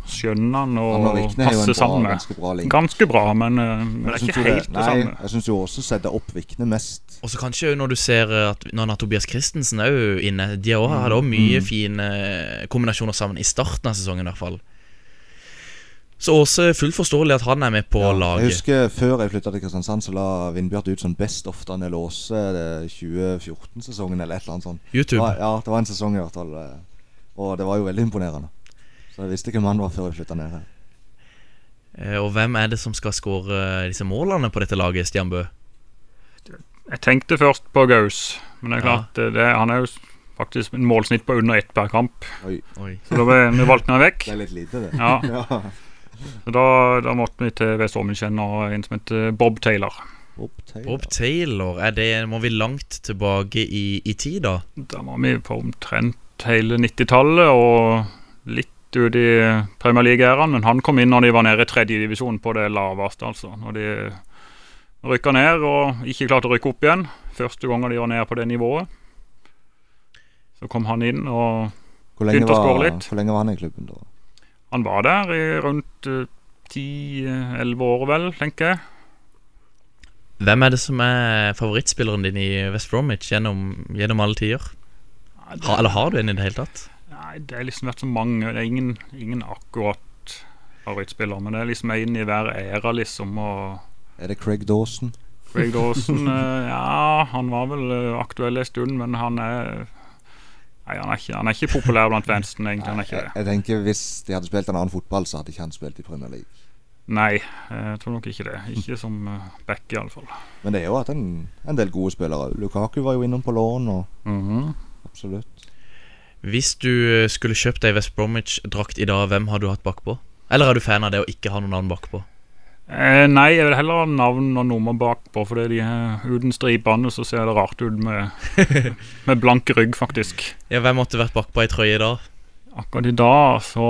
skjønner han Mm. Han og og Vikne er jo en passer bra- sammen med. ganske bra link. Ganske bra, men, eh, men det er ikke helt det nei, samme. Jeg syns jo også setter opp Vikne mest. Og så kanskje jo når du ser eh, at når han har Tobias Christensen er jo inne De har også- hadde Mm, òg mye fine kombinasjoner sammen i starten av sesongen, i hvert fall. Så Åse er fullt forståelig at han er med på Jeg laget. husker før jeg flytta til Kristiansand, så la Vindbjart ut sånn Best of Daniel Aase eh, 2014-sesongen eller et eller annet sånt. YouTube. Det var, ja, det var en sesong i hvert fall. eh, Og det var jo veldig imponerende. Så jeg visste hvem han var før jeg flytta ned her. Eh, Og hvem er det som skal skåre disse målene på dette laget, Stian Bø? Jeg tenkte først på Gaus, men det er klart eh, det, han er jo s- faktisk en målsnitt på under ett per kamp. Oi. Oi. Så da ble vi valgt han vekk. Det er litt lite, det. Ja. Ja. Så da, da måtte vi til Vestommenkjenn og en som heter Bob Taylor. Bob Taylor. Bob Taylor, er det, må vi langt tilbake i, i tid, da? Da var vi på omtrent hele 90-tallet og litt ut i Premier League-æraen, men han kom inn når de var nede i tredje divisjon på det laveste, altså. Når de rykka ned og ikke klarte å rykke opp igjen. Første gangen de var nede på det nivået. Så kom han inn og Hvor lenge, begynte å var, skåre litt. hvor lenge var han i klubben da? Han var der i rundt ti-elleve år, vel, tenker jeg. Hvem er det som er favorittspilleren din i West Bromwich gjennom, gjennom alle tider? det- Ha, eller har du en i det hele tatt? Nei, Det har liksom vært så mange. Det er ingen, ingen akkurat favorittspiller, men det er liksom en i hver æra, liksom. og... Er det Craig Dawson? Craig Dawson eh, Ja, han var vel eh, aktuell en stund, men han er Nei, han er ikke, han er ikke populær blant fansen, egentlig. Han er ikke det. Jeg tenker Hvis de hadde spilt en annen fotball, så hadde ikke han spilt i Premier League. Nei, eh, jeg tror nok ikke det. Ikke som eh, back, i alle fall Men det er jo hatt en, en del gode spillere. Lukaku var jo innom på lån. Og, Mhm. Absolutt. Hvis du eh, skulle kjøpt deg West Bromwich-drakt i dag, hvem har du hatt bakpå? Eller er du fan av det å ikke ha noe navn bakpå? Eh, nei, jeg vil heller ha navn og nummer bakpå, for de er uten stripene, så ser det rart ut med, med blank rygg, faktisk. Ja, Hvem måtte vært bakpå ei trøye i dag? Akkurat i dag så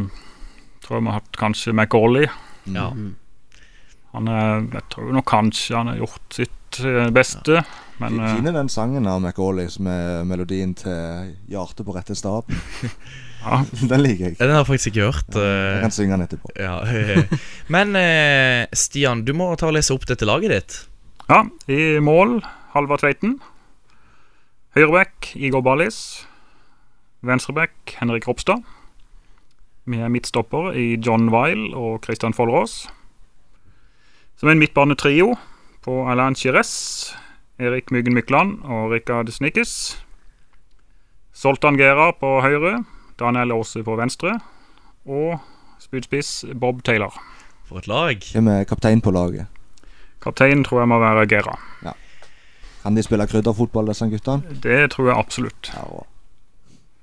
eh, tror jeg vi har hatt kanskje McAuley. Ja. Han er, jeg tror nok kanskje han har gjort sitt eh, beste, men eh, Fin er den sangen av McAuley som er melodien til 'Hjerte på rette stav'. Den liker jeg. Den har jeg faktisk ikke hørt. eh, Jeg kan synge den etterpå. Ja. Men eh, Stian, du må ta og lese opp dette laget ditt. Ja, i mål Halvard Tveiten. Høyrebekk Igor Ballis. Venstrebekk Henrik Ropstad. Med midtstoppere i John Weil og Christian Follrås. Som en midtbanetrio på Alain Chires, Erik Myggen Mykland og Rikard Snikkes. Soltan Gera på høyre, Daniel Aase på venstre. Og spydspiss Bob Taylor. For et lag. Hvem er kaptein på laget? Kapteinen tror jeg må være Gera. Kan de spille krydderfotball, disse guttene? Det tror jeg absolutt.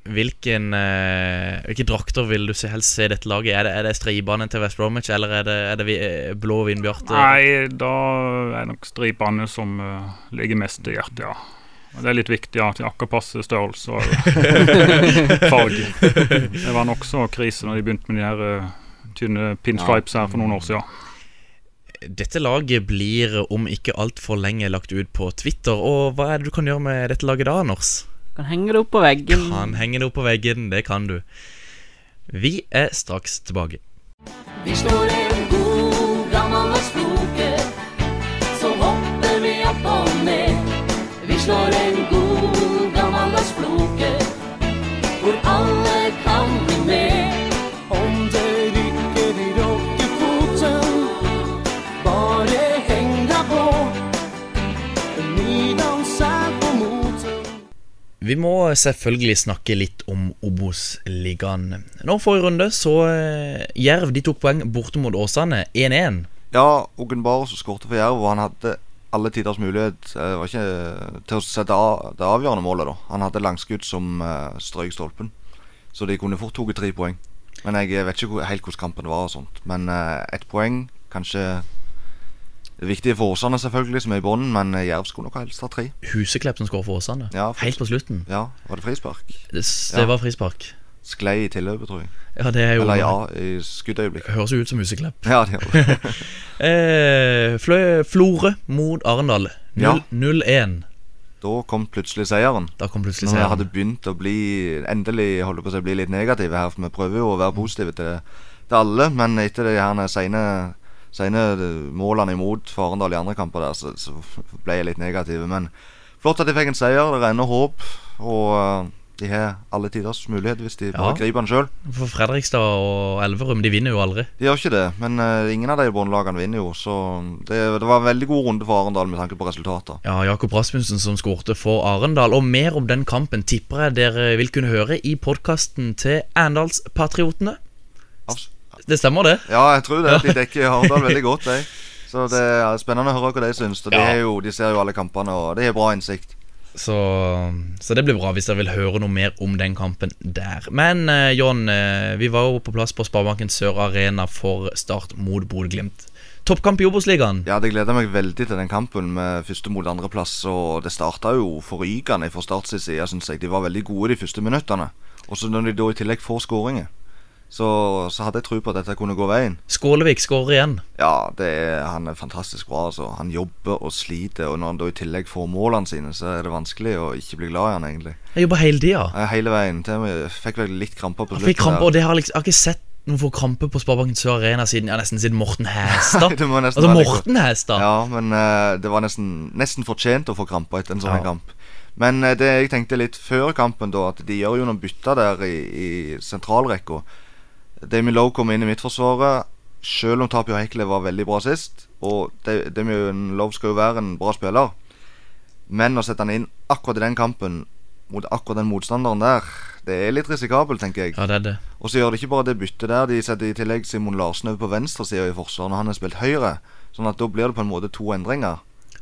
Hvilken, eh, hvilke drakter vil du se, helst se i dette laget? Er det, er det stribene til West Bromwich, eller er det, er det vi, eh, blå vinbjarte? Nei, da er nok stripene som eh, ligger mest i hjertet, ja. Og det er litt viktig ja, til akkurat passe størrelse og farge. Det var nokså krise når de begynte med de her eh, tynne pinstripes her for noen år siden. Dette laget blir om ikke altfor lenge lagt ut på Twitter, og hva er det du kan gjøre med dette laget da, Anders? Kan henge det opp på veggen. Kan henge det opp på veggen, det kan du. Vi er straks tilbake. Vi slår en god gammel og sloke, så hopper vi opp og ned. Vi må selvfølgelig snakke litt om Obos-ligaen. Nå forrige runde så eh, Jerv de tok poeng borte mot Åsane 1-1. Ja, Ogen Baros skårte for Jerv, og han hadde alle tiders mulighet eh, var ikke, til å sette av det avgjørende målet. da Han hadde langskudd som eh, strøk stolpen, så de kunne fort tatt tre poeng. Men jeg eh, vet ikke hvor- helt hvordan kampen var og sånt. Men eh, ett poeng, kanskje Det viktige for Åsane, selvfølgelig, som er i bunnen, men eh, Jerv skulle nok helst ha tre. Huseklepp som skårer for Åsane. Helt på slutten. Ja, Var det frispark? Det, s- det var frispark. Sklei i tilløpet, tror jeg. Ja, det er jo- Eller ja, i skuddøyeblikket. Høres jo ut som Huseklepp. Ja, det gjør det. eh, Flø- Florø mot Arendal Ja. 0-1. Da kom plutselig seieren. Da kom plutselig Når seieren. jeg hadde begynt å bli Endelig holdt jeg på å si bli litt negative her, for vi prøver jo å være positive til, til alle. Men etter de her sene, sene målene imot for Arendal i andre kamper der, så, så ble jeg litt negativ. Men flott at de fikk en seier. Det renner håp. Og eh, de har alle tiders mulighet hvis de bare griper den sjøl. For Fredrikstad og Elverum de vinner jo aldri. De gjør ikke det, men eh, ingen av de båndlagene vinner jo, så det, det var en veldig god runde for Arendal med tanke på resultater. Ja, Jakob Rasmussen som skårte for Arendal. Og mer om den kampen tipper jeg dere vil kunne høre i podkasten til Arendalspatriotene. Det stemmer, det? Ja, jeg tror det. De dekker Arendal veldig godt, de. Så det er spennende å høre hva de syns. Og de, Ja. er jo, de ser jo alle kampene, og de har bra innsikt. Så, så det blir bra hvis dere vil høre noe mer om den kampen der. Men eh, John, eh, vi var jo på plass på Sparebanken Sør Arena for Start mot Bodø-Glimt. Toppkamp i Obos-ligaen. Ja, det gleder meg veldig til den kampen med første mot andreplass. Og det starta jo forrykende fra Start sin side, syns jeg. De var veldig gode de første minuttene. Og så når de da i tillegg får skåringer, så, så hadde jeg tro på at dette kunne gå veien. Skålevik skårer igjen. Ja, det er, han er fantastisk bra. altså Han jobber og sliter, og når han da i tillegg får målene sine, så er det vanskelig å ikke bli glad i han egentlig. Jeg jobber hele tida. Eh, Hele veien. Til jeg fikk vel litt kramper på Jeg slutten. Fikk krampe, der. og det har liksom, jeg har ikke sett noen få krampe på Sparebanken Sør Arena siden ja, nesten siden Morten Hæstad. Det må nesten altså være litt Morten Hæstad. Ja, men eh, det var nesten, nesten fortjent å få kramper etter en sånn Ja. kamp. Men eh, det jeg tenkte litt før kampen, da, at de gjør jo noen bytter der i, i sentralrekka. Damien Lowe kom inn i midtforsvaret, selv om Tapio Hekle var veldig bra sist. Og Da- Damien Lowe skal jo være en bra spiller, men å sette han inn akkurat i den kampen mot akkurat den motstanderen der, det er litt risikabelt, tenker jeg. Ja, det er det. Og så gjør de ikke bare det byttet der, de setter i tillegg Simon Larsen over på venstresida i forsvaret når han har spilt høyre. Sånn at da blir det på en måte to endringer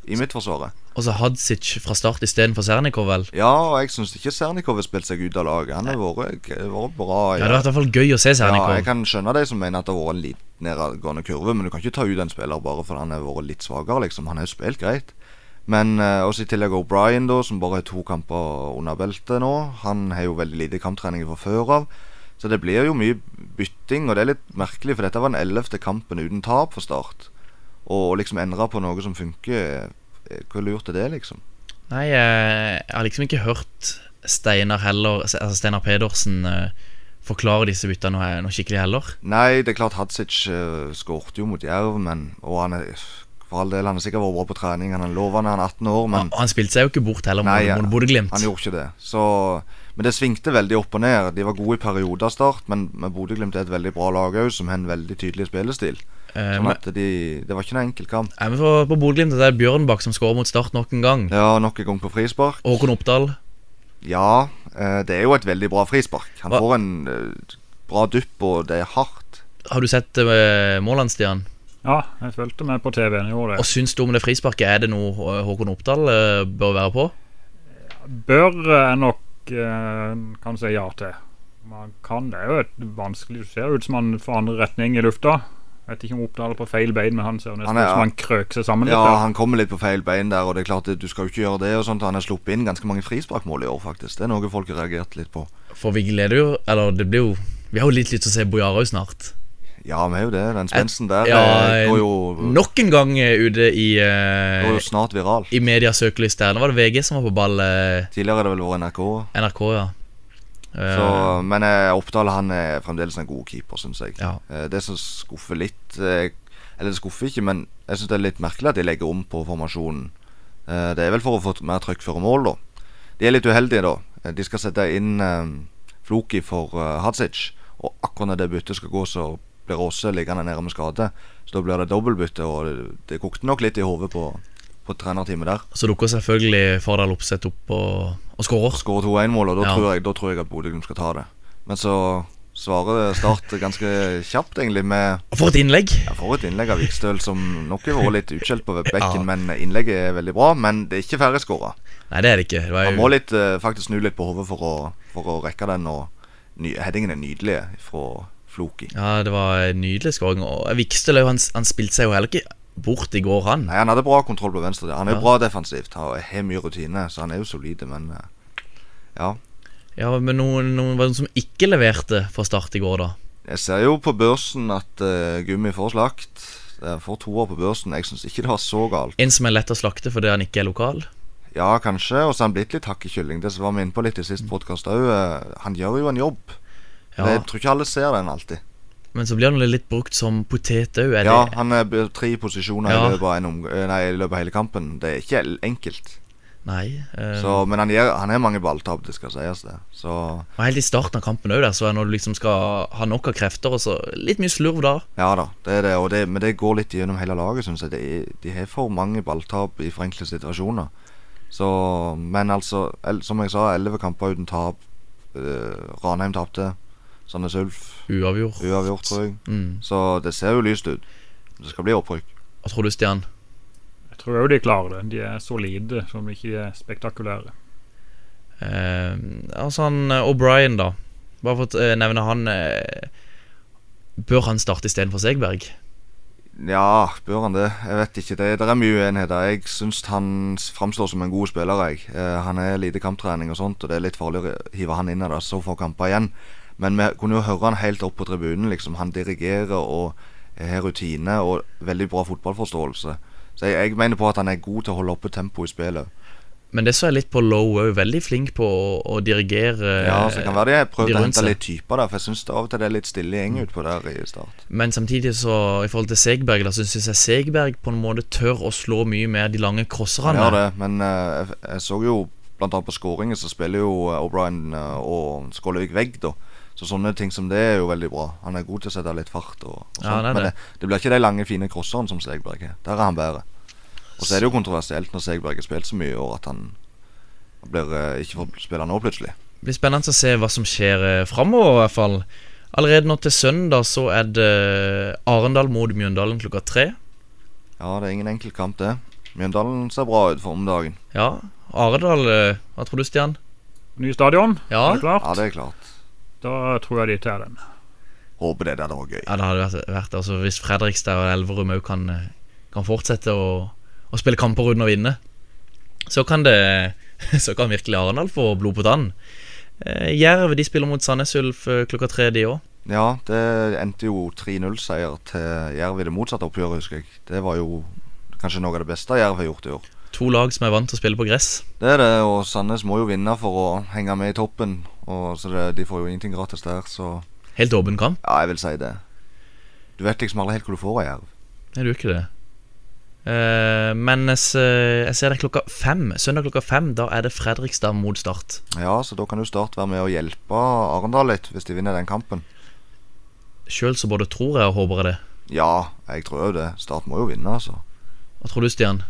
i midtforsvaret. Og så Hadzic fra start istedenfor Sernikov, vel. Ja, og jeg syns ikke Sernikov har spilt seg ut av laget. Han har vært, vært bra. Ja, det har vært i hvert fall gøy å se Sernikov. Ja, jeg kan skjønne de som mener at det har vært en litt nedadgående kurve, men du kan ikke ta ut en spiller bare fordi han har vært litt svakere, liksom. Han har jo spilt greit. Men eh, også i tillegg O'Brien, da, som bare har to kamper under beltet nå. Han har jo veldig lite kamptrening fra før av. Så det blir jo mye bytting, og det er litt merkelig, for dette var den ellevte kampen uten tap for Start. Og å liksom endre på noe som funker, eh, hvor lurt er det, liksom? Nei, eh, jeg har liksom ikke hørt Steinar heller Altså Steinar Pedersen eh, forklare disse byttene noe, noe skikkelig heller. Nei, det er klart Hadzic uh, skårte jo mot Jerv, men Og han er for all del, han har sikkert vært bra på trening, han er lovende, han er 18 år, men Og han spilte seg jo ikke bort heller Nei, mot mot Bodø-Glimt. Han gjorde ikke det. Så, men det svingte veldig opp og ned. De var gode i perioder start, men, men Bodø-Glimt er et veldig bra lag òg, som har en veldig tydelig spillestil. Eh, sånn at de, det var ikke noen enkel kamp. Nei, men for, på Bodø-Glimt er det Bjørnbakk som skårer mot Start nok en gang. Ja, nok en gang på frispark. Og Håkon Oppdal. Ja, eh, det er jo et veldig bra frispark. Han får en eh, bra dupp, og det er hardt. Har du sett eh, målene, Stian? Ja, jeg fulgte med på TV-en. Jeg gjorde Og det. syns du om det frisparket? Er det noe eh, Håkon Oppdal eh, bør være på? Bør jeg nok eh, kan si ja til. Man kan, Det er jo et vanskelig Det ser ut som han forandrer retning i lufta. Vet ikke om Oppdal er på feil bein, men han ser jo nesten Han er- ut som han krøker seg sammen litt. Ja, der. han kommer litt på feil bein der, og det er klart at du skal jo ikke gjøre det. og sånt Han har sluppet inn ganske mange frisparkmål i år, faktisk. Det er noe folk har reagert litt på. For vi gleder jo Eller det blir jo Vi har jo litt lyst til å se Bojarau snart. Ja, vi har jo det. Den spensten der Ja, eh, går jo Nok en gang eh, ute i eh, Går jo snart viral. I medias søkelys der. Nå var det VG som var på ball. eh, Tidligere har det vel vært NRK. NRK, ja. Eh, Så, men eh, Oppdal han er fremdeles en god keeper, syns jeg. Ja. Eh, Det som skuffer litt eh, Eller det skuffer ikke, men jeg syns det er litt merkelig at de legger om på formasjonen. Eh, Det er vel for å få mer trøkk før mål, da. De er litt uheldige, da. Eh, De skal sette inn eh, Floki for eh, Hadzic, og akkurat når det byttet skal gå, så blir Åse liggende nede med skade. Så da blir det dobbeltbytte, og det, det kokte nok litt i hodet på, på på trenerteamet der. Så dukker selvfølgelig Fardal Opseth opp og, og skårer. Skårer 2-1-mål, og da, Ja. tror jeg- da tror jeg at Bodø-Glimt skal ta det. Men så svarer Start ganske kjapt, egentlig, med For et innlegg! Ja, for et innlegg av Vikstøl, som nok har vært litt utskjelt på bekken, men innlegget er veldig bra. Men det er ikke ferdig skåra. Nei, det er det ikke. Det var Han jo- må litt, eh, faktisk snu litt på hodet for, å- for å rekke den, og ny, headingen er nydelig fra Floki. Ja, det var en nydelig skåring. Og eh, Vikstøl er jo- han, han spilte seg jo heller ikke bort i går, han. Nei, Han hadde bra kontroll på venstre. Han er jo Ja. bra defensivt, han har mye rutine, så han er jo solid, men eh, ja. Ja, Men noen, noen, var det noen som ikke leverte fra start i går, da? Jeg ser jo på børsen at eh, Gummi får slakt. Jeg får to år på børsen. Jeg syns ikke det var så galt. En som er lett å slakte fordi han ikke er lokal? Ja, kanskje. Og så har han blitt litt hakkekylling. Det som var vi inne på litt i sist podkast òg. Han gjør jo en jobb. Ja. Men Jeg tror ikke alle ser den alltid. Men så blir han litt brukt som potet òg, er Ja, det? han er b- tre posisjoner Ja. i, løpet av en omg eh, nei, i løpet av hele kampen. Det er ikke el- enkelt. Nei. eh, Så, men han, gjør, han er mange balltap, det skal sies. det Så Og helt i starten av kampen òg, så er når du liksom skal ha nok av krefter, og så litt mye slurv da. ja da, det er det. Og det men det går litt gjennom hele laget, syns jeg. Det er, de har for mange balltap i for enkle situasjoner. Så, men altså, el, som jeg sa, elleve kamper uten tap. Eh, Ranheim tapte. Sandnes Ulf Uavgjort. Uavgjort, tror jeg. Mm. Så det ser jo lyst ut. Det skal bli opprykk. Hva tror du, Stian? Jeg tror jo de klarer det. De er solide, som ikke er spektakulære. Eh, altså han eh, O'Brien, da. Bare for å eh, nevne han eh, Bør han starte istedenfor Segberg? Ja, bør han det? Jeg vet ikke. Det, det er mye uenigheter. Jeg syns han framstår som en god spiller. Jeg. Eh, han er lite kamptrening og sånt, og det er litt farlig å hive han inn i det, så få kamper igjen. Men vi kunne jo høre han helt opp på tribunen. liksom. Han dirigerer og har rutine og veldig bra fotballforståelse. Så jeg, jeg mener på at han er god til å holde oppe tempoet i spillet. Men det så jeg litt på Low òg. Veldig flink på å, å dirigere. eh, Ja, så det kan være de har prøvd de å rundt hente seg. litt typer der, for jeg syns av og til det er litt stille gjeng utpå der i start. Men samtidig, så i forhold til Segberg, da så syns jeg Segberg på en måte tør å slå mye mer de lange Han crosserne. gjør det, men eh, jeg, jeg så jo blant annet på skåringen så spiller jo eh, O'Brien eh, og Skålevik vegg, da. Så sånne ting som det er jo veldig bra. Han er god til å sette litt fart. og, og Ja, han er sånt. Men det. det, det blir ikke de lange, fine crosserne som Segberg har. Der er han bedre. Og så er det jo kontroversielt når Segberg har spilt så mye i år at han blir, eh, ikke får spille nå plutselig. Det blir spennende å se hva som skjer eh, framover, i hvert fall. Allerede nå til søndag så er det eh, Arendal mot Mjøndalen klokka tre. Ja, det er ingen enkel kamp, det. Mjøndalen ser bra ut for om dagen. Ja, Arendal eh, Hva tror du, Stian? Ny stadion, Ja. er det klart? Ja, det er klart. Da tror jeg de tar den. Håper det der det var gøy. Ja, det hadde vært, vært altså, Hvis Fredrikstad og Elverum òg kan, eh, kan fortsette å, å spille kamper uten å vinne, så kan det Så kan virkelig Arendal få blod på tann. Eh, Jerv de spiller mot Sandnes Ulf eh, klokka tre, de òg. Ja, det endte jo 3-0-seier til Jerv i det motsatte oppgjøret, husker jeg. Det var jo kanskje noe av det beste Jerv har gjort i år. To lag som er vant til å spille på gress. Det er det, og Sandnes må jo vinne for å henge med i toppen. Og så det, De får jo ingenting gratis der, så Helt åpen kamp. Ja, jeg vil si det. Du vet liksom aldri helt hvor du får av Jerv. Er du ikke det? Eh, men jeg s- eh, jeg ser det er klokka fem. Søndag klokka fem. Da er det Fredrikstad mot Start. Ja, så da kan jo Start være med og hjelpe Arendal litt, hvis de vinner den kampen. Sjøl så både tror jeg og håper jeg det. Ja, jeg tror jo det. Start må jo vinne, altså. Hva tror du, Stian?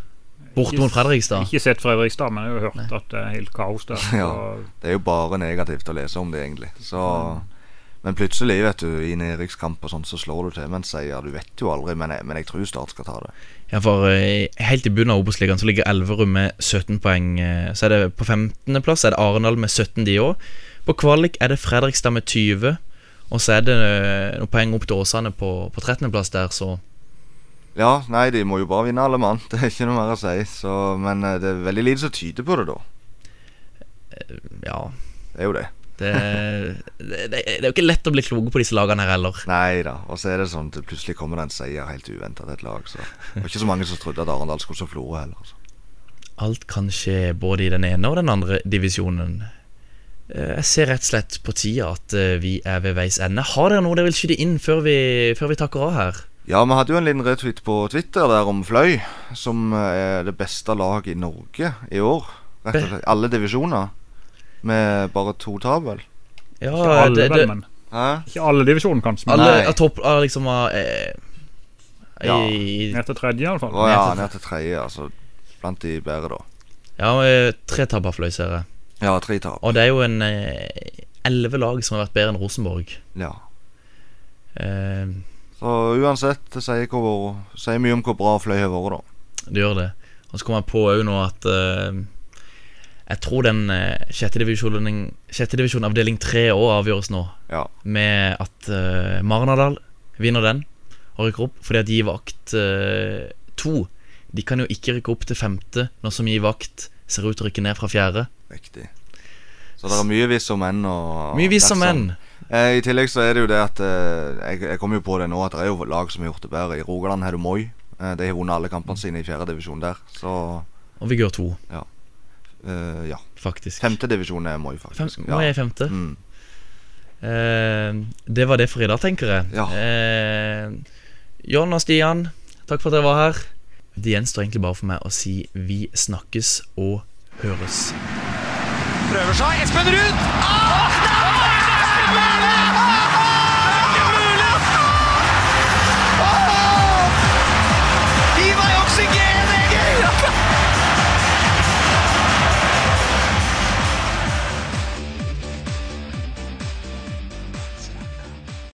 Bort mot Fredrikstad? Ikke sett Fredrikstad, men jeg har jo hørt at det er helt kaos der. Ja, så- Det er jo bare negativt å lese om det, egentlig. Så, men plutselig, vet du, i nedrykkskamp og sånn, så slår du til med en seier. Du vet jo aldri, men jeg, men jeg tror Start skal ta det. Ja, for eh, helt i bunnen av Obos-ligaen så ligger Elverum med 17 poeng. eh, Så er det på 15.-plass er det Arendal med 17, de òg. På kvalik er det Fredrikstad med 20. Og så er det eh, noen poeng opp til Åsane på, på 13.-plass der, så Ja, nei, de må jo bare vinne alle mann. Det er ikke noe mer å si. Så, men eh, det er veldig lite som tyder på det, da. ja. Det er jo det. Det, det, det, det er jo ikke lett å bli kloke på disse lagene her heller. Nei da. Og så er det sånn at det plutselig kommer det en seier helt uventa til et lag. Så det var ikke så mange som trodde at Arendal skulle så Florø heller. Altså. Alt kan skje både i den ene og den andre divisjonen. Eh, Jeg ser rett og slett på tida at eh, vi er ved veis ende. Har dere noe dere vil skyte inn før vi, før vi takker av her? Ja, vi hadde jo en liten retweet på Twitter der om Fløy, som eh, er det beste laget i Norge i år. Rett og slett. Alle divisjoner. Med bare to tap, vel. Ja, Ikke alle, det- vel, det- men. Hæ? Ikke alle divisjonen, kanskje. men- Alle av topp av liksom av eh, Ja, i, Ned til tredje, iallfall. Å ja, ned til tredje, altså. Blant de bedre, da. Ja, eh, tre tap av fløysere. Ja, tre tap. Og det er jo en eh, elleve lag som har vært bedre enn Rosenborg. Eh, Ja. Så uansett, det sier, hvor, sier mye om hvor bra Fløy har vært, da. Det gjør det. Og så kom jeg på òg nå at eh, jeg tror den eh, sjette divisjonen, sjette divisjonen avdeling tre òg avgjøres nå. Med at eh, Marnardal vinner den og rykker opp, fordi at Givakt eh, to De kan jo ikke rykke opp til femte når som Givakt ser ut til å rykke ned fra fjerde. Riktig. Så det er mye hvis om enn. Og Mye hvis om dersom. Eh, I tillegg så er det jo det at eh, jeg, jeg kom jo på det nå at det er jo lag som har gjort det bedre. I Rogaland har du Moi. Eh, de har vunnet alle kampene sine i fjerde divisjon der. Så Og Vigør to. Ja. Eh, ja. Faktisk. Femte divisjon er Moi, faktisk. Fem, Nå er jeg i femte. Eh, det var det for i dag, tenker jeg. Eh, John og Stian, takk for at dere var her. Det gjenstår egentlig bare for meg å si vi snakkes og høres. Prøver seg. Espen Ruud! Ah!